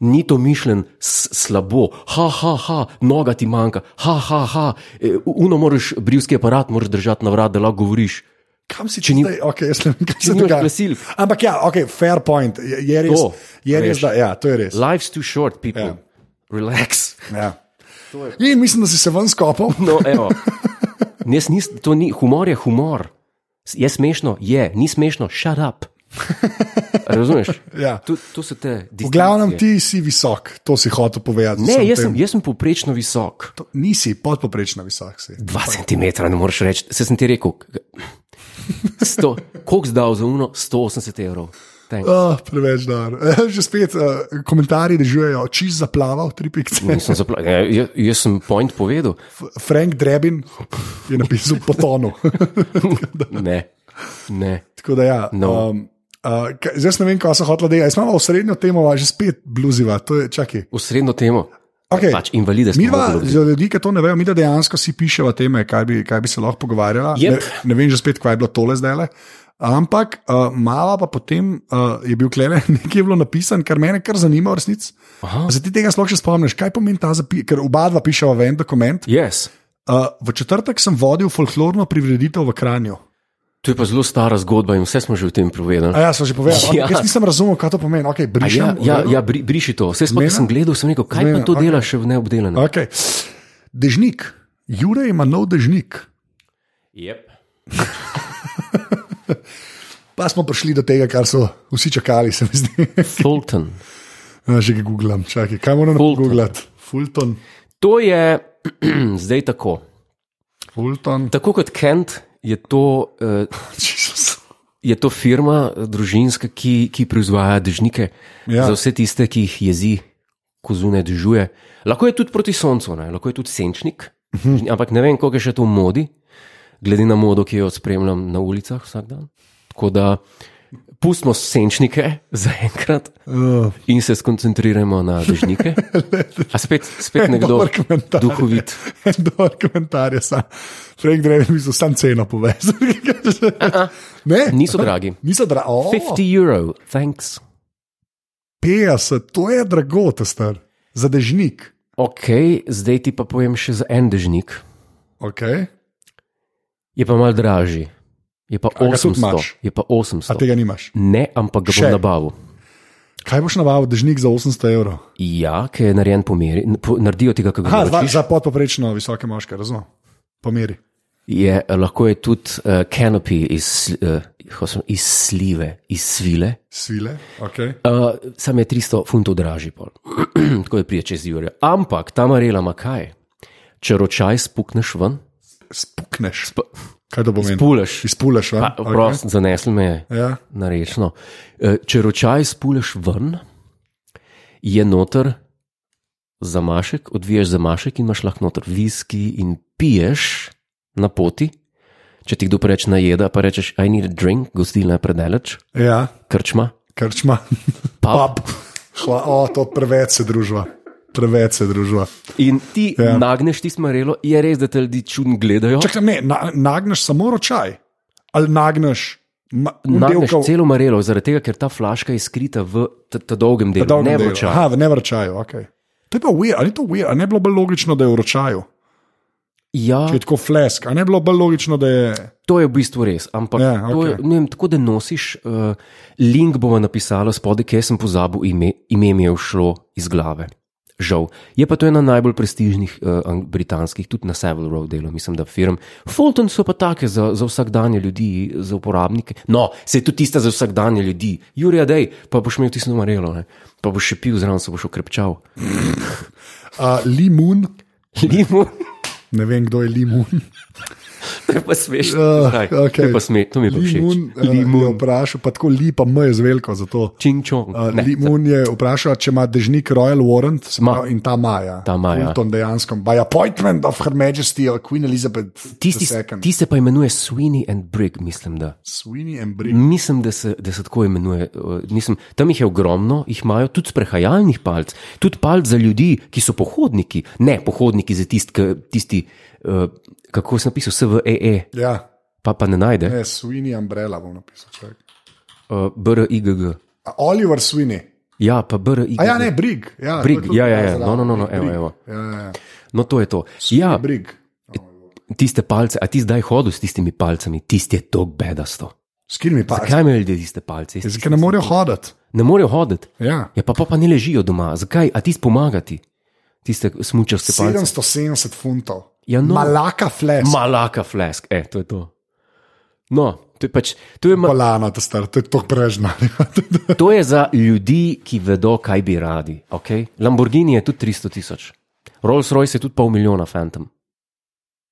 S1: ni to mišljen s- slabo, ha, ha, ha, noga ti E, manjka, ha, ha, ha, eh, uno moraš, brivski aparat moraš držati na vrat, da lahko govoriš.
S2: kam si
S1: Če
S2: če
S1: ni-
S2: ni. Zdaj, okay, jaz ne vem, kaj
S1: če
S2: se
S1: nimaš
S2: dogaja.
S1: glasilk.
S2: Ampak ja, okay, fair point. Je, je res,
S1: To,
S2: je
S1: veš.
S2: res da, ja, to je res.
S1: Life's too short, people.
S2: Ja.
S1: Relax.
S2: Ja. In mislim, da si se ven skopal.
S1: No, evo. Jaz nis, to ni humor, je humor. S- Je smešno, je, ni smešno, shut up. Razumeš?
S2: Ja.
S1: To, to so te
S2: V
S1: distinkcije.
S2: glavnem ti si visok, to si hotel povedati. z
S1: Ne,
S2: vsem
S1: jaz
S2: tem.
S1: sem, jaz sem poprečno visok.
S2: To, nisi podpoprečno visok. Si.
S1: Dva centimetra, ne moreš reči. Se sem ti rekel, sto- koliko zdal za uno? 180 evrov. Thanks.
S2: Oh, preveč dar. Že spet uh, komentarji režujejo, čist zaplaval, tri pikce.
S1: Nisem zapla- ne, jaz, jaz sem point povedal.
S2: Frank Drebin je napisal potonu.
S1: Ne, ne.
S2: Tako da ja.
S1: No.
S2: Um, uh, k- zdaj jaz ne vem, kaj so hotla delati. Jaz imamo osrednjo temo, a že spet bluziva. To je, čakaj.
S1: Osrednjo temo.
S2: Okay.
S1: Pač invalide smo
S2: Mi dva,
S1: mogli
S2: za ljudi, ki to ne vejo, mi dva dejansko si piševa teme, kaj bi, kaj bi se lahko pogovarjala.
S1: Jep.
S2: Ne, ne vem že spet, kaj je bilo tole zdaj le. Ampak uh, mala pa potem uh, je bil klene, nekaj je bilo napisano, kar mene kar zanima v resnici.
S1: Aha.
S2: Se ti tega sploh še spomniš, kaj pomeni ta zapis, ker oba dva piševa v en dokument.
S1: Yes.
S2: Uh, v četrtek sem vodil folklorno prireditev v Kranju.
S1: To je pa zelo stara zgodba in vse smo že o tem povedali.
S2: A ja, sem že povedal,
S1: Ja.
S2: ja. jaz nisem razumel, kaj to pomeni. Okay,
S1: A Ja,
S2: brišem, v
S1: ja,
S2: redu.
S1: ja bri, briši to. Vse smo,
S2: Zmena?
S1: ki sem gledal, sem rekel, kaj pa
S2: Zmena,
S1: to
S2: ok.
S1: dela še v neobdelanem.
S2: Okay. Dežnik, Jure ima nov dežnik.
S1: Yep.
S2: Pa smo prišli do tega, kar so vsi čakali, se mi zdi.
S1: Fulton.
S2: Ja, že ga googlam, čakaj, kaj moram
S1: Fulton.
S2: googlati? Fulton.
S1: To je zdaj tako.
S2: Fulton.
S1: Tako kot Kent je to, eh,
S2: Jezus.
S1: je to firma eh, družinska, ki, ki proizvaja dežnike ja.
S2: Ja.
S1: za vse tiste, ki jih jezi, ko zunaj dežuje. Lahko je tudi proti soncu, ne? lahko je tudi senčnik, mhm. ampak ne vem, koliko je še to v modi, glede na modo, ki jo spremljam na ulicah vsak dan. Tako da pustimo senčnike za enkrat.
S2: Uh,
S1: In se skoncentriramo na dežnike. A spet, spet nekdo
S2: dober komentar.
S1: duhovit.
S2: En dober komentar je sam. Frank Dreven, mi so sam ceno povezali. ne,
S1: Niso dragi.
S2: Niso dragi. Oh,
S1: 50 evrov, thanks.
S2: 50, to je drago, ta star. Za dežnik.
S1: Ok, zdaj ti pa povem še za en dežnik.
S2: Okay.
S1: Je pa mal dražji. Je pa
S2: A ga tudi
S1: 800.
S2: imaš?
S1: Je pa
S2: A
S1: 800.
S2: tega nimaš.
S1: Ne, ampak ga bom
S2: Še?
S1: nabavil.
S2: Kaj boš nabavil, dežnik za 800 evrov?
S1: Ja, ki je narejen po meri, n- po- naredijo tega, kar
S2: Aha, dva,
S1: hočeš.
S2: za podpoprečno visoke moške, razumem. Po meri.
S1: Je, eh, lahko je tudi uh, canopy iz, uh, iz slive, iz svile.
S2: Svile, okay.
S1: Uh, sam je 300 funtov dražji, pol. tako je prije čez Jurja. Ampak ta marela ima kaj? Če ročaj spukneš ven,
S2: spukneš. Sp Kaj to pomeni?
S1: spuleš.
S2: Izpuleš,
S1: Pa,
S2: a?
S1: Prost, okay. zaneslo me je
S2: Ja.
S1: na rečno. Eh, Če ročaj spuleš ven, je noter zamašek, odviješ zamašek in imaš lahko noter viski in piješ na poti. Če ti kdo pa reče najeda, pa rečeš, I need a drink, gostilna je predaleč,
S2: ja,
S1: krčma,
S2: krčma.
S1: pub.
S2: Pap. Hva, o, to preveč se družba. Preveč se družba.
S1: In ti ja. nagneš tisto marelo, je res, da te ljudje čudno gledajo.
S2: Čakaj, ne, na, nagneš samo ročaj. Ali nagneš ma- v
S1: Nagneš
S2: delkov-
S1: celo marelo, zaradi tega, ker ta flaška je skrita v ta, ta dolgem delu,
S2: dolgem
S1: ne
S2: delu?
S1: vroča.
S2: Aha, v ne vrčaju. Okay. To je pa weird, ali je to weird, ali ne bi bilo bolj logično, da je v ročaju.
S1: Ja,
S2: Je tako flesk, ali ne bi bilo bolj logično, da je.
S1: to je v bistvu res, ampak ja,
S2: Ja,
S1: okay. to je,
S2: okej.
S1: ne vem, tako da nosiš, uh, link bomo napisali spodaj, kje sem pozabil, ime, ime mi je ušlo iz glave. Žal. Je pa to ena najbolj prestižnih uh, ang- britanskih, tudi na Savile Row delu, mislim, da firm. Fulton so pa take za, za vsakdanje ljudi, za uporabnike. No, se je tudi tista za vsakdanje ljudi. Jurija, dej, pa boš imel tisto marelo, ne? pa boš še pil zraven, se boš okrepčal.
S2: A, limun,
S1: Limun.
S2: ne vem, kdo je limun.
S1: To je pa smešno.
S2: Uh,
S1: Zdaj, To,
S2: okay.
S1: je pa sme, to mi je pa všeč.
S2: Limun, uh, je vprašal, pa tako lipa M je z veliko za to.
S1: Čingčong.
S2: Uh, Limun je vprašal, če ima dežnik Royal Warrant se
S1: Ma.
S2: pravi, in ta Maja.
S1: Ta ima, ja.
S2: Fulton dejansko. By appointment of Her Majesty or Queen Elizabeth
S1: Tisti,
S2: II.
S1: ti se pa imenuje Sweeney and Brig, mislim da.
S2: Sweeney and Brick.
S1: Mislim, da se, da se tako imenuje. eh, Mislim, tam jih je ogromno, jih imajo tudi sprehajalnih palc, tudi palc za ljudi, ki so pohodniki, ne pohodniki za tist, ki- tisti, uh, kako sem napisal, SVEE,
S2: Ja,
S1: E, pa pa ne najde,
S2: ne, Sweeney Umbrella bom napisal. človek.
S1: uh, BRIGG.
S2: A Oliver Sweeney.
S1: Ja, pa BRIGG.
S2: A ja, ne, Brig. Ja, to je
S1: Brig,
S2: tudi
S1: ja, ja, ja.
S2: zraven.
S1: No, no, no, no,
S2: Brig, ja,
S1: evo,
S2: Brig.
S1: evo.
S2: Ja, ja, ja.
S1: No, to je to. Ja,
S2: Brig.
S1: tiste palce, a ti zdaj hodil s tistimi palcami, tisti je to bedasto.
S2: Skirmi pa.
S1: Zakaj imajo ljudje tiste palce? Jaz-
S2: Zakaj ne morejo hoditi?
S1: Ne morejo hoditi.
S2: Ja.
S1: Ja, pa, pa pa ne ležijo doma. Zakaj? A ti pomagati? Tiste smučarske palce.
S2: 770 funtov.
S1: Ja, no.
S2: Malaka fles. Ma
S1: Malaka flask, e, to je to. No, to je pač, to je, ma-
S2: Polana, to, star, to je tako prežna.
S1: To je za ljudi, ki vedo, kaj bi radi. Okay? Lamborghini je tudi 300 tisoč, Rolls Royce je tudi pol milijona fantom.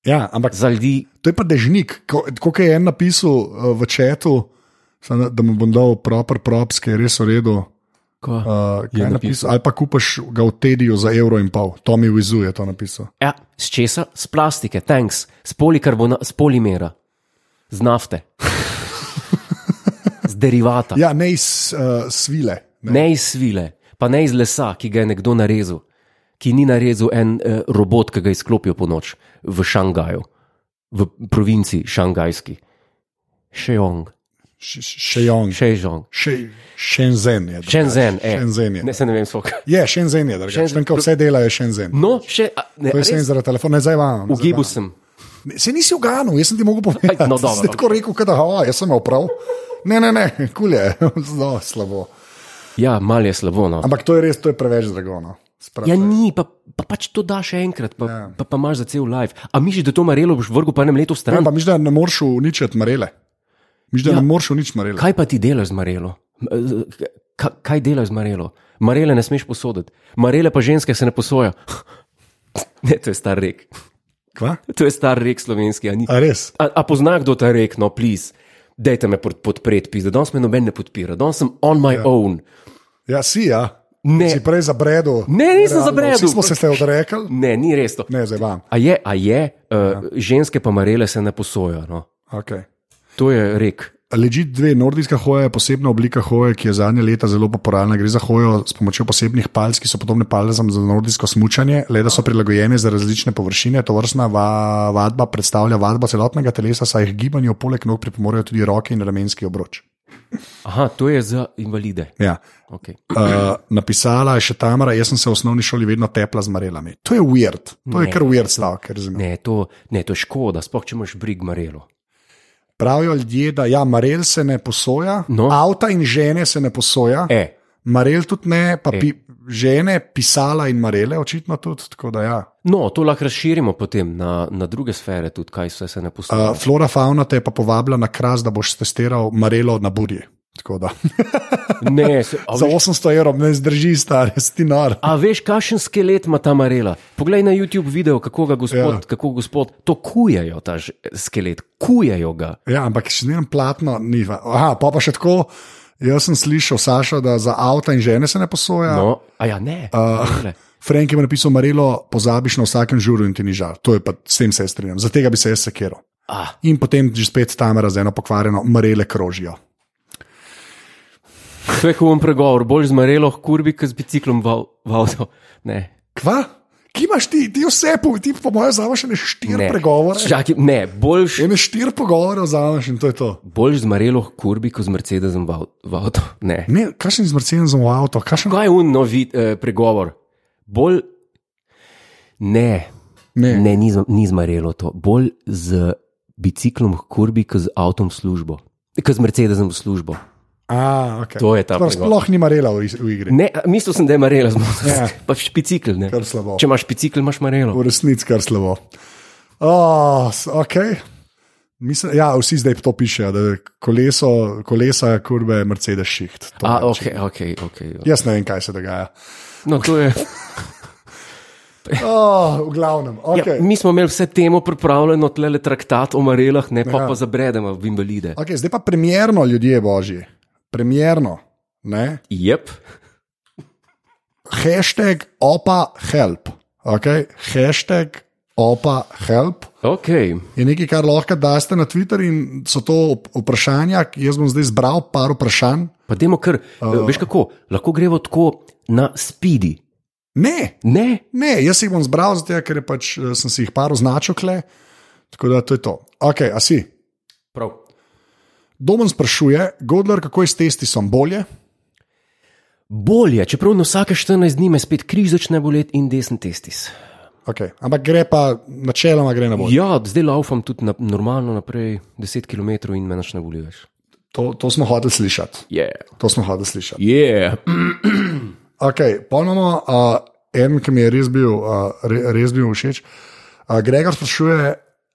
S2: ja, ampak
S1: Za ljudi,
S2: to je pa dežnik. Ko- Tako kot je en napisal uh, v četu, samo da- da mu bom dal proper props, ki je res v redu.
S1: ko, uh,
S2: Uh,
S1: Je
S2: je napisal,
S1: napisal.
S2: napisal, ali pa kupaš ga v Tediju za evro in pol. Tommy Wizu je to napisal.
S1: ja, z česa? Z plastike, tanks, z, polikarbona, z polimera, z nafte, z derivata, ja.
S2: Ja, ne iz uh, svile. Ne.
S1: ne iz svile, pa ne iz lesa, ki ga je nekdo narezal, ki ni narezal en eh, robot, ki ga izklopijo po noč v Šangaju, v provinci Šangajski. Šejong,
S2: Š- š- Šejong.
S1: Šejong.
S2: Še- Shenzhen je.
S1: Šenzen,
S2: drugače. Ja, Shenzhen je.
S1: e. ne, se ne vem, kako.
S2: Je, Shenzhen je, drugače. Tam, ko vse delajo, je Shenzhen.
S1: No, še, a, ne,
S2: To je vse
S1: res,
S2: zaradi telefona, ne zdaj vam.
S1: v gibu sem.
S2: Ne, Se nisi uganil, jaz sem ti mogel povedati.
S1: Aj, no,
S2: Sem
S1: dobro.
S2: tako rekel, da ha, jaz sem imel prav. Ne, ne, ne, kulje, zelo slabo.
S1: Ja, malo je slabo. No.
S2: Ampak to je res, to je preveč drago. No. Sprav-
S1: Ja, ni, pa, pa pač to daš enkrat, pa, ja. pa, pa imaš za cel life. A misliš, da to marelo boš vrgel po enem letu
S2: Ne,
S1: stran?
S2: pa miš, da ne moreš uničiti marele. Miš, da ja. ne moreš uničiti marele.
S1: Kaj pa ti delaš z marelo? M, eh, ka- Kaj delaš z marelo? Marele ne smeš posoditi, marele pa ženske se ne posoja. Ne, to je star rek.
S2: Kva?
S1: To je star rek slovenski. A, ni-
S2: A res?
S1: a, a pozna kdo ta rek, no, plis. Dajte me pod, podpreti, pis, da danes me noben ne podpira, danes sem on my ja. own.
S2: Ja, si ja.
S1: Ne.
S2: Si prej zabredel.
S1: Ne, nisem
S2: Realno,
S1: zabredel.
S2: Vsi Ja, no, smo se ste odrekli.
S1: Ne, ni res to.
S2: Ne, zdaj vam.
S1: A je, a je, uh, ja. ženske pa marele se ne posojajo. No.
S2: Okay.
S1: To je rek.
S2: Leži dve, nordijska hoja je posebna oblika hoje, ki je zadnje leta zelo popularna. Gre za hojo s pomočjo posebnih palc, ki so podobne palcem za nordijsko smutanje, le da so prilagojene za različne površine. To vrstna va vadba predstavlja vadbo celotnega telesa, saj jih gibanju poleg nog pripomorejo tudi roke in ramenski obroč.
S1: Aha, to je za invalide.
S2: Ja.
S1: Okay.
S2: Uh, napisala je še Tamara, jaz sem se v osnovni šoli vedno tepla z marelami. To je weird, to
S1: Ne.
S2: je kar weird stavek, ker razumem.
S1: Ne, to, ne, to je škoda, sploh če imaš brig marelo.
S2: Pravijo ljudje, da ja, marel se ne posoja,
S1: No.
S2: avta in žene se ne posoja.
S1: E,
S2: Marel tudi ne, pa pi, žene, pisala in marele, očitno tudi. tako Da, ja.
S1: no, to lahko razširimo potem na, na druge sfere, tudi kaj vse se ne posoja.
S2: uh, Flora Fauna te je pa povabila na kras, da boš testiral marelo na burje. Tako Da.
S1: Ne, se, a,
S2: Za
S1: veš,
S2: 800 evrov ne zdrži, star, jaz ti nar.
S1: a veš, kakšen skelet ima ta marela? Poglej na YouTube video, kako ga gospod,
S2: Ja.
S1: ja. kako gospod to kujejo, ta ž, skelet, kujejo ga.
S2: Ja, ampak še ne vem, platno ni. va- Aha, pa, pa še tako. Jaz sem slišal, Saša, da za avta in žene se ne posoja.
S1: No, a ja, ne. Uh,
S2: Frank je pa napisal, Marelo, pozabiš na vsakem žuru in ti ni žal. To je pa, s tem se jaz strinjam, za tega bi se jaz sekiral.
S1: ah,
S2: In potem že spet tamera z eno pokvarjeno, Marele krožijo.
S1: to je kuhom pregovor, bolj zmarelo, kurbi, kot z biciklom v, av- v avto. Ne.
S2: Kva? Ki imaš ti, ti vse, po, ti po mojem zavaš ne štiri ne. pregovore.
S1: Čaki, ne, boljš,
S2: Ene štiri pogovore zavaš in to je to.
S1: boljš zmarelo kurbi, kot z Mercedesom v, av- v avto. Ne.
S2: Ne, kakšen izmrcen za avto, kakšen
S1: Kaj je un novi eh, pregovor? Bolj ne,
S2: Ne.
S1: ne ni, z- ni zmarelo to. Bolj z biciklom h kurbi, kot z avtom v službo. Kot z Mercedesom v službo.
S2: A, okay.
S1: To je ta
S2: Sploh-
S1: pregovor.
S2: Sploh ni marela v, iz- v igri.
S1: Ne, a, mislil sem, da je marelo,
S2: Ja.
S1: ja. pa špicikl. ne.
S2: Kar slabo.
S1: Če imaš špicikl, imaš marelo.
S2: V resnici kar slabo. Oh, okay. Mislim, ja, vsi zdaj to pišejo, da je koleso, kolesa, kurbe, Mercedes šiht. To
S1: A,
S2: je-
S1: ok, ok. okay.
S2: Jaz ne vem, kaj se dogaja.
S1: No, to je.
S2: Oh, v glavnem,
S1: Ja,
S2: okay.
S1: mi smo imeli vse temo pripravljeno, tle traktat o marelah, ne
S2: Ja.
S1: pa, pa zabredemo v invalide.
S2: okay, zdaj pa premjerno, ljudje božji, premjerno. Ne?
S1: Jep.
S2: Hashtag opa help. Okay? Hashtag opa help.
S1: Ok,
S2: je nekaj, kar lahko daste na Twitter, in so to op- vprašanja. Jaz bom zdaj zbral par vprašanj.
S1: pa demo kar, uh. veš kako, lahko gremo tako na spidi.
S2: Ne,
S1: Ne,
S2: ne, jaz jih bom zbral, zato ker je pač, eh, sem si jih par označil, kle. tako da to je to. Ok, a si.
S1: prav.
S2: Domen sprašuje, Godler, kako je s testisom, bolje?
S1: Bolje, čeprav na vsake 14 dni me spet križ začne boleti in desen testis.
S2: Okay. Ampak gre pa, načeloma gre na bolj.
S1: Ja, zdaj laufam tudi na, normalno naprej 10 km in me naš ne boli več.
S2: To, to smo hoteli slišati.
S1: Je,
S2: To smo hoteli slišati.
S1: yeah. yeah.
S2: Okay, Ponovno, uh, en, ki mi je res bil, uh, re, res bil všeč. Uh, Gregor sprašuje,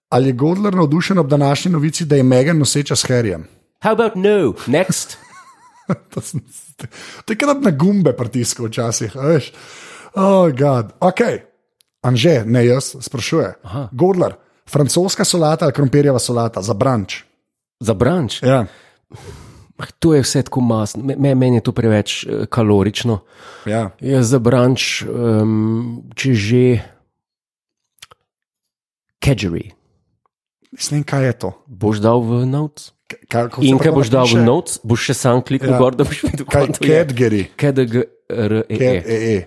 S2: ali je Godler navdušen ob današnji novici, da je Megan noseča s Harryjem.
S1: how about no, next?
S2: To sem- To je kot da na gumbe pritiskal včasih, a veš. Oh, God. Ok, Anže, ne jaz, sprašuje. Godler, francoska solata ali krompirjeva solata za branč.
S1: Za branč.
S2: Ja.
S1: Ah, To je vse tako masno, Me- me- meni je to preveč eh, kalorično.
S2: ja.
S1: Jaz za branč, um, če že. Kedžeri.
S2: Mislim, kaj je to.
S1: Boš dal v notes?
S2: K- Kaj, kako se
S1: In
S2: pa
S1: kaj
S2: to
S1: boš dal v
S2: napiše?
S1: notes, boš še sam kliknil
S2: Ja.
S1: ja. gor, da boš videl,
S2: Kaj, Cadbury,
S1: E. KDGRE.
S2: KDE.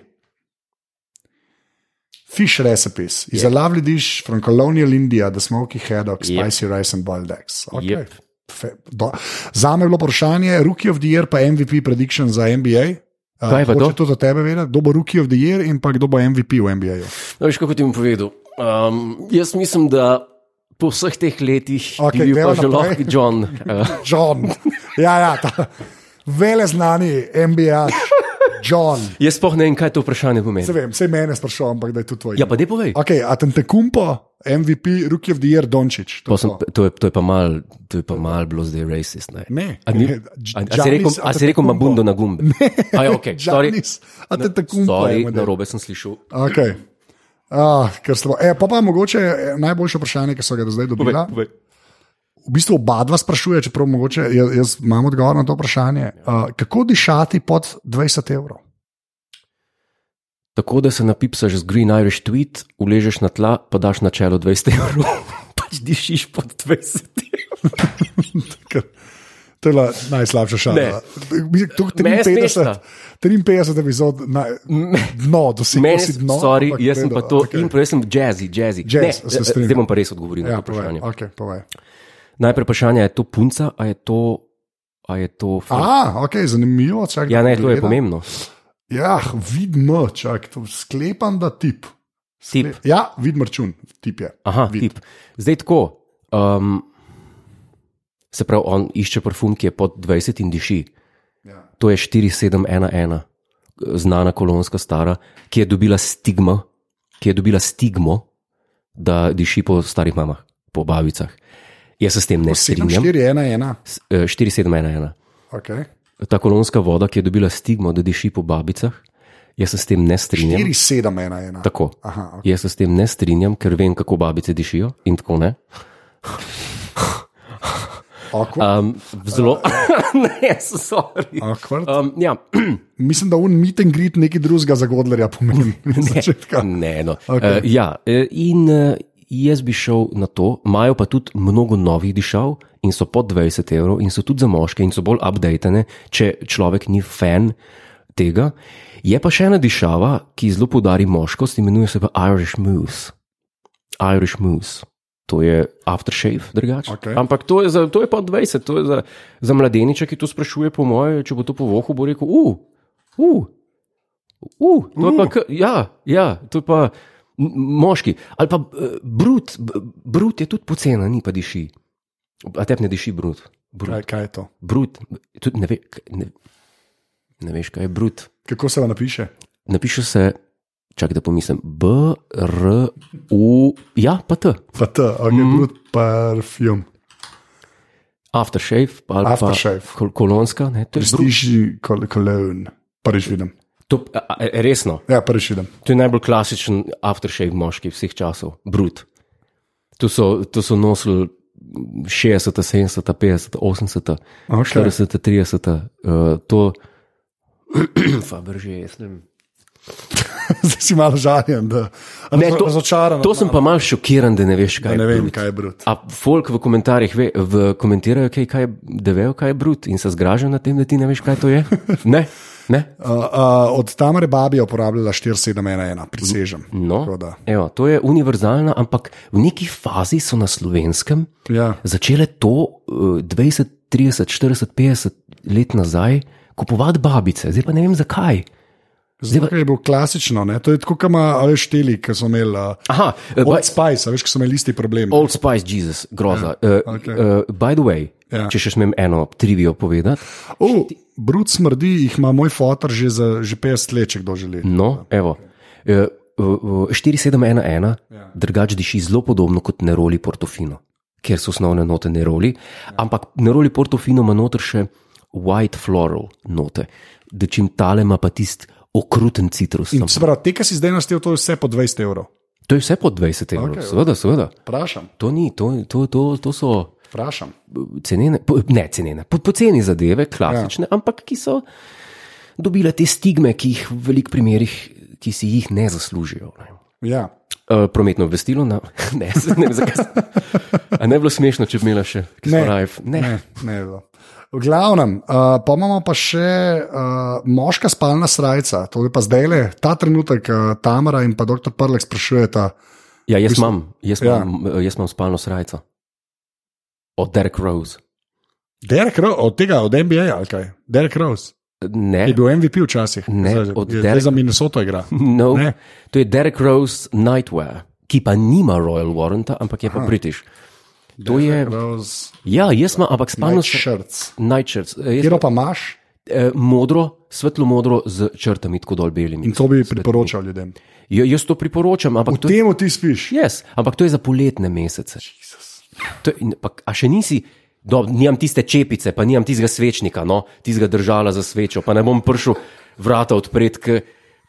S2: Fish recipes, iz Alav Lidiš, from Colonial India, the Smoky
S1: Yep.
S2: Haddock, Spicy Rice and Boiled Eggs. Okay.
S1: Yep.
S2: Fe- do- Zame je bilo vprašanje, Rookie of the Year, pa MVP prediction za NBA. Uh,
S1: Kaj pa to?
S2: hoče to za tebe vedeti, kdo bo Rookie of the Year in pa kdo bo MVP v NBA-ju.
S1: No, veš, kako ti bom povedal. Um, jaz mislim, da po vseh teh letih
S2: Okej,
S1: bi bil pa
S2: greva
S1: že
S2: naprej.
S1: lahko John. Uh,
S2: John, ja, ja, ta vele znani NBA, John.
S1: jaz sploh ne vem, kaj to vprašanje
S2: Se
S1: pomeni.
S2: vem, vse mene sprašujem, ampak da je to tvoj.
S1: Ja, pa ne povej.
S2: Okay, Atentekumpo, MVP, Rookie of the Year, Dončić.
S1: To, sem, to, je, to je pa malo mal bilo zdaj racist. Ne.
S2: Ne.
S1: A, ni, a, a si rekel, a si rekel Mabundo na gumbe? A ja, ok, sorry.
S2: Atentekumpo.
S1: Sorry, na robe sem slišal.
S2: Okay. Ah, ker slabo. E, pa pa mogoče eh, najboljše vprašanje, ki so ga do zdaj dobili. V bistvu oba dva sprašuje, čeprav mogoče jaz, jaz imam odgovor na to
S1: Ja.
S2: vprašanje. Uh, kako dišati pod 20 evrov?
S1: Tako da se napipsaš z Green Irish tweet, uležeš na tla, pa daš na čelo 20 evrov, pač dišiš pod 20 evrov.
S2: Ker To je bila
S1: Ne.
S2: najslabša šala. Mislim, to je
S1: Me je smešna.
S2: 53, 53 epizod, na, dno, dosegel
S1: Meni
S2: si
S1: je
S2: dno.
S1: sorry,
S2: ampak
S1: jaz sem
S2: v
S1: pa
S2: redu,
S1: to,
S2: okej.
S1: okay. in prej sem jazzy, jazzy.
S2: Jazz, se
S1: ne, eh,
S2: strinjam.
S1: zdaj bom pa res odgovoril ja,
S2: Ja,
S1: na to
S2: povej.
S1: vprašanje.
S2: Okay, povej.
S1: Najprej vprašanje, a je to punca, a je to. A je to fant?
S2: A, okay, Ah, zanimivo. Čak,
S1: ja, ne,
S2: da
S1: to je
S2: pogledam.
S1: pomembno.
S2: Ja, vidno, čak, to sklepam, da tip.
S1: Tip.
S2: Ja, vidim račun, tip je.
S1: Aha, tip. Zdaj tako. Um, se pravi, on išče parfum, ki je pod 20 in diši.
S2: Ja.
S1: To je 4711, znana kolonska stara, ki je dobila stigmo, ki je dobila stigmo da diši po starih mamah, po babicah. Jaz se s tem ne strinjam.
S2: 7411.
S1: S- eh, 4711.
S2: Okay.
S1: Ta kolonska voda, ki je dobila stigmo, da diši po babicah, jaz se s tem ne strinjam.
S2: 4711.
S1: Tako.
S2: Aha, ok.
S1: Jaz se s tem ne strinjam, ker vem, kako babice dišijo in tako ne.
S2: Awkward.
S1: Um, zelo. ne, sorry.
S2: Uh, Awkward.
S1: Um, ja,
S2: Mislim, da un meet and greet nekaj drugega za Godlerja pomeni. Iz začetka.
S1: ne, no.
S2: Okej.
S1: okay. uh, ja, eh, in uh, jaz bi šel na to, imajo pa tudi mnogo novih dišav in so pod 20 evrov, in so tudi za moške, in so bolj updatene, če človek ni fan tega. Je pa še ena dišava, ki zelo podari moškost, imenuje se pa Irish Moose. Irish Moose. To je aftershave, drugače.
S2: Okej.
S1: Ampak to je, za, to je pa 20, to je za, za mladeniča, ki to sprašuje, po mojem, če bo to povohu, bo rekel, uf, uf, Uh, to je pa, k- ja, ja, to je pa m- moški. Ali pa eh, brut, b- brut je tudi pocena, ni pa diši. A te ne diši brut. Brut,
S2: Kaj, kaj je to?
S1: brut. Tudi ne, ve, k- ne, ne veš, kaj je brut.
S2: Kako se vam napiše?
S1: Napiše se, čakaj, da pomislim, B, R, U, ja, pa T.
S2: Pa T, okay,
S1: Mhm.
S2: mm. brut parfum.
S1: Aftershave, pa, ali
S2: Aftershave.
S1: pa kol, kolonska, ne, to je brut.
S2: Prestižni kol kolon. Pariš vidim.
S1: To, a, a, resno,
S2: Ja, pariš vidim.
S1: To je najbolj klasičen aftershave moški vseh časov, brut. Tu so, tu so nosili 60, 70, 50, 80,
S2: Okay.
S1: 40, 30, uh, to, Faberže, jaz ne vem.
S2: Zdaj si malo žaljen, da ne,
S1: to-
S2: razočaran.
S1: To sem pa malo šokiran, da ne veš,
S2: da
S1: kaj
S2: ne
S1: je.
S2: vem,
S1: brut.
S2: kaj je brut.
S1: A folk v komentarjih ve, v, komentirajo, kaj, kaj je, da vejo, kaj je brut in se zgražajo nad tem, da ti ne veš, kaj to je. Ne, ne.
S2: Uh, uh, od Tamare Babi je uporabljala 4711, prisežem. Tako
S1: No,
S2: da.
S1: evo, to je univerzalna, ampak v neki fazi so na slovenskem
S2: Ja.
S1: začele to eh, 20, 30, 40, 50 let nazaj kupovati babice, zdaj pa ne vem zakaj.
S2: Zdaj pa je bilo klasično, ne? to je tako, kot ima šteli, ki so imeli uh,
S1: Aha, eh, by,
S2: Old Spice, a veš, ki so imeli isti problem.
S1: Old Spice, Jesus, groza. Eh,
S2: Ja, okej.
S1: eh, by the way,
S2: Ja.
S1: če še smem eno trivijo povedati,
S2: Oh, Brud smrdi, jih ima moj fotor že, za, že 50 let, če kdo želi.
S1: no, evo. Eh, eh, eh, 4711
S2: Ja.
S1: drugače diši zelo podobno kot neroli portofino, ker so osnovne note neroli, ampak neroli portofino ima noter še white floral note, da čim tale ima pa tisti okruten citrus.
S2: In, se pravi, te, ki si zdaj naštel, to je vse po 20 evrov.
S1: To je vse po 20 evrov,
S2: Okej,
S1: okay, seveda, seveda.
S2: Vprašam,
S1: To ni, to, to, to, to so eh,
S2: vprašam.
S1: cenene, po- ne cenene, po, poceni zadeve, klasične, ja. ampak ki so dobile te stigme, ki jih v velikih primerih, ki si jih ne zaslužijo. Ne.
S2: Ja.
S1: Uh, prometno obvestilo, na, ne, s- ne vem zakaj. sem- A ne bi bilo smešno, če bi imela še
S2: Ne.
S1: Skrajf. Ne. ne.
S2: Ne, ne je bilo. V glavnem, uh, pa imamo pa še uh, moška spalna srca, to je pa zdaj le ta trenutek, uh, Tamara in pa dr. Prlek sprašujeta.
S1: Ja, jaz imam, jaz
S2: Ja.
S1: imam, eh, jaz imam spalno srajco. Od Derek Rose.
S2: Derek Rose, od tega, od NBA ali kaj? Derek Rose je
S1: Ne,
S2: bil MVP včasih,
S1: Ne,
S2: Zdaj-
S1: od
S2: je- zdaj
S1: Derek-
S2: za Minnesoto igra.
S1: no,
S2: Ne.
S1: to je Derek Rose Nightwear, ki pa nima Royal Warranta, ampak je pa British. To je,
S2: Rose,
S1: ja, jaz imam, ampak spalno srajco.
S2: šrc.
S1: Nightshirts, eh, jaz
S2: Kjer pa imaš
S1: eh, modro, svetlo modro z črtami, tako dol belimi.
S2: in to bi priporočal ljudem.
S1: Ja, jaz to priporočam, ampak
S2: V
S1: to, je,
S2: tem ti spiš.
S1: yes, ampak to je za poletne mesece. To, je- in pa, a še nisi, do, nimam tiste čepice, pa nimam tistega svečnika, no, tistega držala za svečo, pa ne bom prišel vrata odpreti k,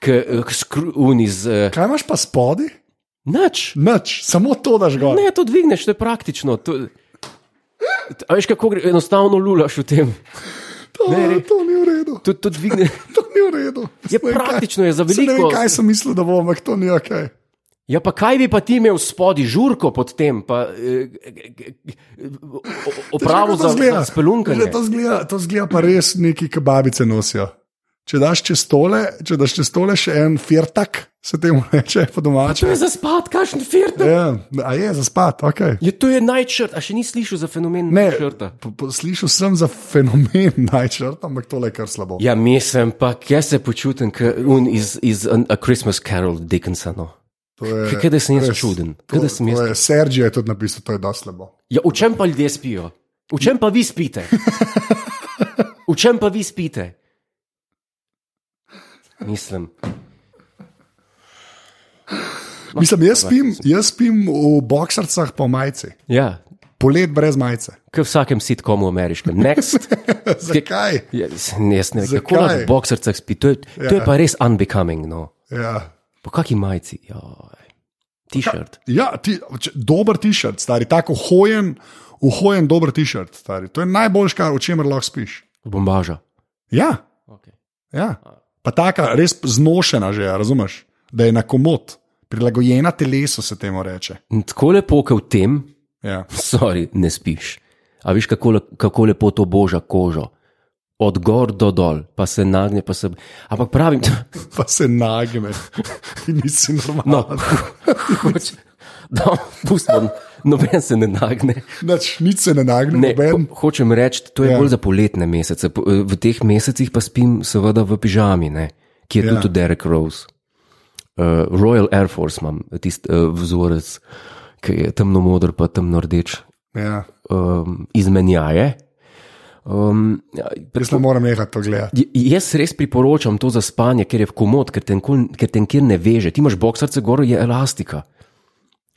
S1: k, eh, k skruni z. eh,
S2: Kaj imaš pa spodaj?
S1: Nič,
S2: Nič, samo to daš gor.
S1: ne, to dvigneš, to je praktično. To, to- a veš, kako gre, enostavno lulaš v tem.
S2: to, ne, to ni v redu.
S1: To, to dvigne,
S2: To ni v redu.
S1: je
S2: Ne vem, kaj-
S1: praktično, je za
S2: Saj Ne
S1: veliko.
S2: vem, kaj sem mislil, da bo, ampak to ni ok.
S1: Ja, pa kaj bi pa ti imel spodaj, žurko pod tem, pa eh, eh, eh, o- o- opravo za, za spelunkanje?
S2: Že to zgleda, to zgleda pa res neki, ki babice nosijo. Če daš čez tole, če daš čez tole še en firtak, se temu reče
S1: To
S2: po
S1: je
S2: domače.
S1: za spad, kakšen firta.
S2: Ja, a je za spat, ok.
S1: Je Ja, to je najčrt, a še nisi slišal za fenomen
S2: Ne,
S1: črta.
S2: po- po- slišal sem za fenomen najčrt, ampak tole je kar slabo.
S1: Ja, mislim pa, kje se počutim, kot un iz, iz an, A Christmas Carol Dickinsa. No.
S2: To je-
S1: Kaj da sem jaz
S2: res,
S1: čuden?
S2: to-
S1: Kaj da sem
S2: to
S1: jaz-
S2: je- Sergio je tudi napisal, to je dosti slabo.
S1: Ja, v čem pa ljudje spijo? V čem pa vi spite? V čem pa vi spite? Mislim.
S2: Mislim, jaz spim, jaz spim v boksarcah po majici,
S1: Ja,
S2: polet brez majice.
S1: kot v vsakem sitkomu ameriškem. Next.
S2: Zakaj?
S1: Ja, mislim, jaz ne vem, kako
S2: Zakaj?
S1: lahko v boksarcah spi. To je, ja. to je pa res unbecoming. No.
S2: Ja.
S1: Po kaki majici, joj. T-shirt.
S2: Ja, ti, če, dober tišrt, stari, tako hojen, uhojen, dober tišrt, stari. To je najboljš, kar o čemer lahko spiš.
S1: Bombaža.
S2: Ja,
S1: Okay.
S2: ja. Pa taka res znošena že, a razumeš, da je na komod, prilagojena telesu se temu reče.
S1: Tako lepo, kot v tem,
S2: Ja.
S1: sorry, ne spiš. A veš, kako, le- kako lepo to boža kožo. Od gor do dol, pa se nagne, pa se. Ampak pravim,
S2: Pa se nagne, ti nisi
S1: no,
S2: normalen.
S1: hoč, no, pustimo, noben se ne nagne.
S2: No. Nič se ne nagne,
S1: Ne,
S2: noben.
S1: ho, hočem reči, to je
S2: Ja.
S1: ja. bolj za poletne mesece. Po- eh, V teh mesecih pa spim, seveda, v pižami, ne? ki je
S2: Ja.
S1: ja. tudi Derek Rose. Uh, Royal Air Force imam, tisti uh, vzorec, ki je temno modr, pa temno rdeč,
S2: Ja.
S1: um, izmenjaje. Um, ja,
S2: Jaz ne morem nehati to gledati.
S1: J- Jaz res priporočam to za spanje, ker je v komod, ker te nikoli- ker te nikjer ne veže. Ti imaš boksarce gor, je elastika.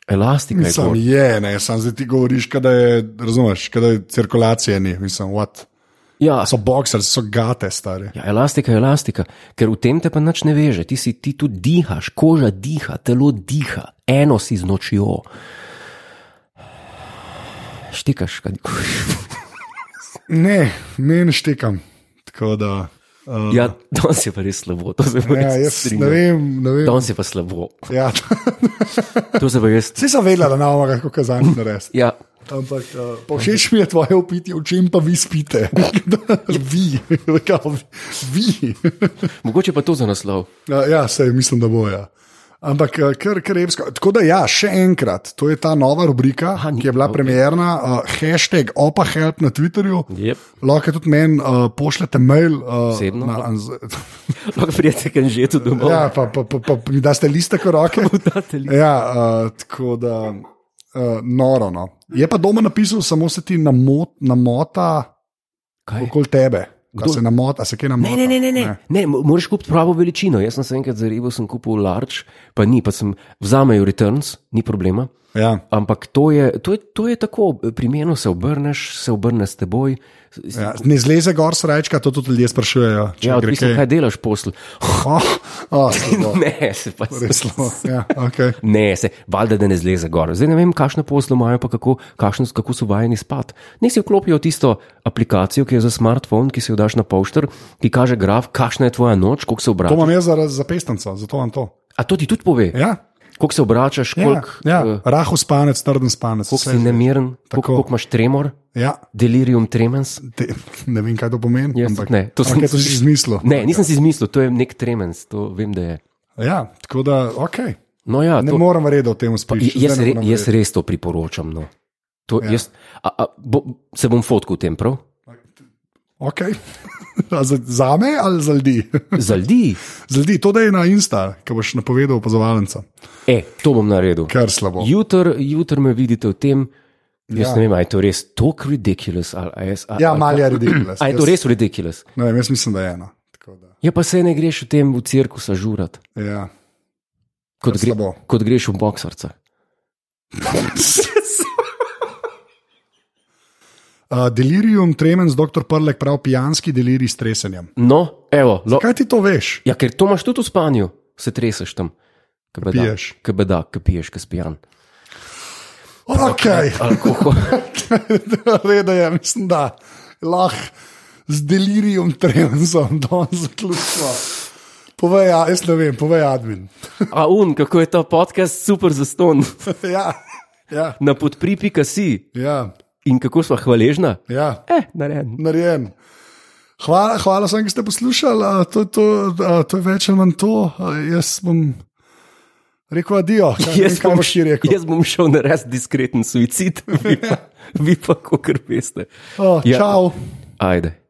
S1: Elastika je
S2: Sam
S1: gor.
S2: je, ne, sam zdaj ti govoriš, kada je, razumeš, kada je cirkulacije ni, mislim, what.
S1: Ja,
S2: So boksarji, so gate, stari.
S1: Ja, elastika je elastika, ker v tem te pa nič ne veže, ti, si, ti tu dihaš, koža diha, telo diha, eno si z nočjo. Štikaš, kaj ti.
S2: Ne, meni štekam. Tako da. Uh,
S1: Ja, danes je pa res slabo, to se pa
S2: ja,
S1: res
S2: jaz ne
S1: strinjam.
S2: vem. Ne vem.
S1: Danes je pa slabo,
S2: Ja,
S1: to se pa res.
S2: vse sem vedela, da ne bomo kako kazali narediti.
S1: Ja,
S2: Ampak uh, povšeč mi je tvoje upiti, v čem pa vi spite. vi, kao, vi.
S1: mogoče pa to za naslov.
S2: Ja, ja, sej mislim, da boja. Ampak eh, kar, kar evsko. Tako da, ja, še enkrat, to je ta nova rubrika,
S1: Aha, ni-
S2: ki je bila
S1: ok.
S2: premjerna, uh, hashtag opa help na Twitterju.
S1: Yep.
S2: Lahko tudi meni uh, pošljete mail. Uh,
S1: Osebno?
S2: Na, anz-
S1: Lahko prijete k Anžetu domov.
S2: ja, pa, pa, pa, pa, pa mi daste liste v roke.
S1: Date li-
S2: Ja, uh, tako da, uh, noro. No. Je pa doma napisal, samo se ti namot, namota
S1: Kaj?
S2: okoli tebe.
S1: Kdo?
S2: Kdo se namota, a se kaj namota?
S1: Ne, ne, ne, ne, ne. ne mo- moraš kupiti pravo veličino. Jaz sem se enkrat zarebil, sem kupil large, pa ni, pa sem vzamejo returns, ni problema.
S2: Ja.
S1: Ampak to je, to je, to je tako, pri menu se obrneš, se obrneš s teboj. s-
S2: Ja, ne zleze gor, srečka, to tudi ljudje sprašujejo. če
S1: Ja,
S2: gre
S1: odvisno,
S2: kaj.
S1: kaj delaš posel.
S2: Oh, oh, slabo,
S1: Ne, se pa
S2: res slabo. Ja, okay.
S1: Ne, se, valjda, da ne zleze gor. Zdaj ne vem, kakšno poslo imajo, pa kako, kakšno, kako so vajeni spati. Naj si vklopijo tisto aplikacijo, ki je za smartphone, ki se jo daš na pošter, ki kaže graf, kakšna je tvoja noč, koliko se
S2: To
S1: obračaš.
S2: imam jaz za, za pestanco, zato imam to.
S1: A to ti tudi pove,
S2: Ja,
S1: koliko se obračaš,
S2: ja,
S1: koliko
S2: ja.
S1: eh,
S2: rahu spanec, trden spanec.
S1: koliko
S2: vse.
S1: si nemiren, koliko, koliko imaš tremor,
S2: Ja,
S1: delirium tremens.
S2: te, ne vem, kaj to pomeni.
S1: Jaz tudi
S2: ampak,
S1: ne, to
S2: to,
S1: sem-
S2: ampak, to si izmislil.
S1: Ne, nisem si izmislil, to je nek tremens, to vem, da je.
S2: Ja, tako da, okay.
S1: No, ja,
S2: ne
S1: to,
S2: morem verjeti, da o tem uspiš.
S1: J- Jaz,
S2: Zdaj ne
S1: re,
S2: morem
S1: jaz
S2: verjeti.
S1: res to priporočam. No. To,
S2: Ja.
S1: ja. jaz, a, a, bo, se bom fotkal v tem, prav?
S2: Okay. A za, za me ali za ljudi?
S1: Za ljudi.
S2: za ljudi, to da je na Insta, ki boš napovedal opazovalnica.
S1: E, to bom naredil.
S2: Kar slabo.
S1: Jutr, jutr me vidite v tem, jaz
S2: Ja.
S1: ja. ne vem, ali je to res tako ridiculous. Ali, ali, jaz- ali,
S2: Ja,
S1: ali-
S2: malo je ridiculous.
S1: Ali je to
S2: Jaz-
S1: res ridiculous?
S2: Ne vem, jaz mislim, da je ena. Tako Da,
S1: Ja, pa se ne greš v tem v cirkus žurat,
S2: ja.
S1: kot,
S2: Kar
S1: gre,
S2: slabo.
S1: kot greš v boksarca.
S2: Uh, delirium tremens, doktor Prlek prav pijanski delirij s tresenjem.
S1: No, evo, lo,
S2: Kaj ti to veš?
S1: ja, ker to imaš tudi v spanju, se treseš tam. Ke beda,
S2: piješ.
S1: Ke beda, ke piješ, ke spijan.
S2: Okay.
S1: Alkohol.
S2: Reda je, mislim, da lahko z delirium tremensom don zaključimo. Povej, a- jaz ne vem, povej admin.
S1: A un, kako je ta podcast super za ston.
S2: ja, ja,
S1: Na podpripika si
S2: ja,
S1: in kako smo hvaležna.
S2: ja.
S1: Eh, narejen.
S2: narejen. Hvala, hvala vsem, ki ste poslušali, a, to, je to, a, to je več ali manj to. A, Jaz bom rekel adijo, kaj, jaz kaj boš ti rekel.
S1: jaz bom Ja. šel na res diskreten suicid, vi pa, vi pa kako veste.
S2: O,
S1: Ja.
S2: Čau.
S1: Ajde.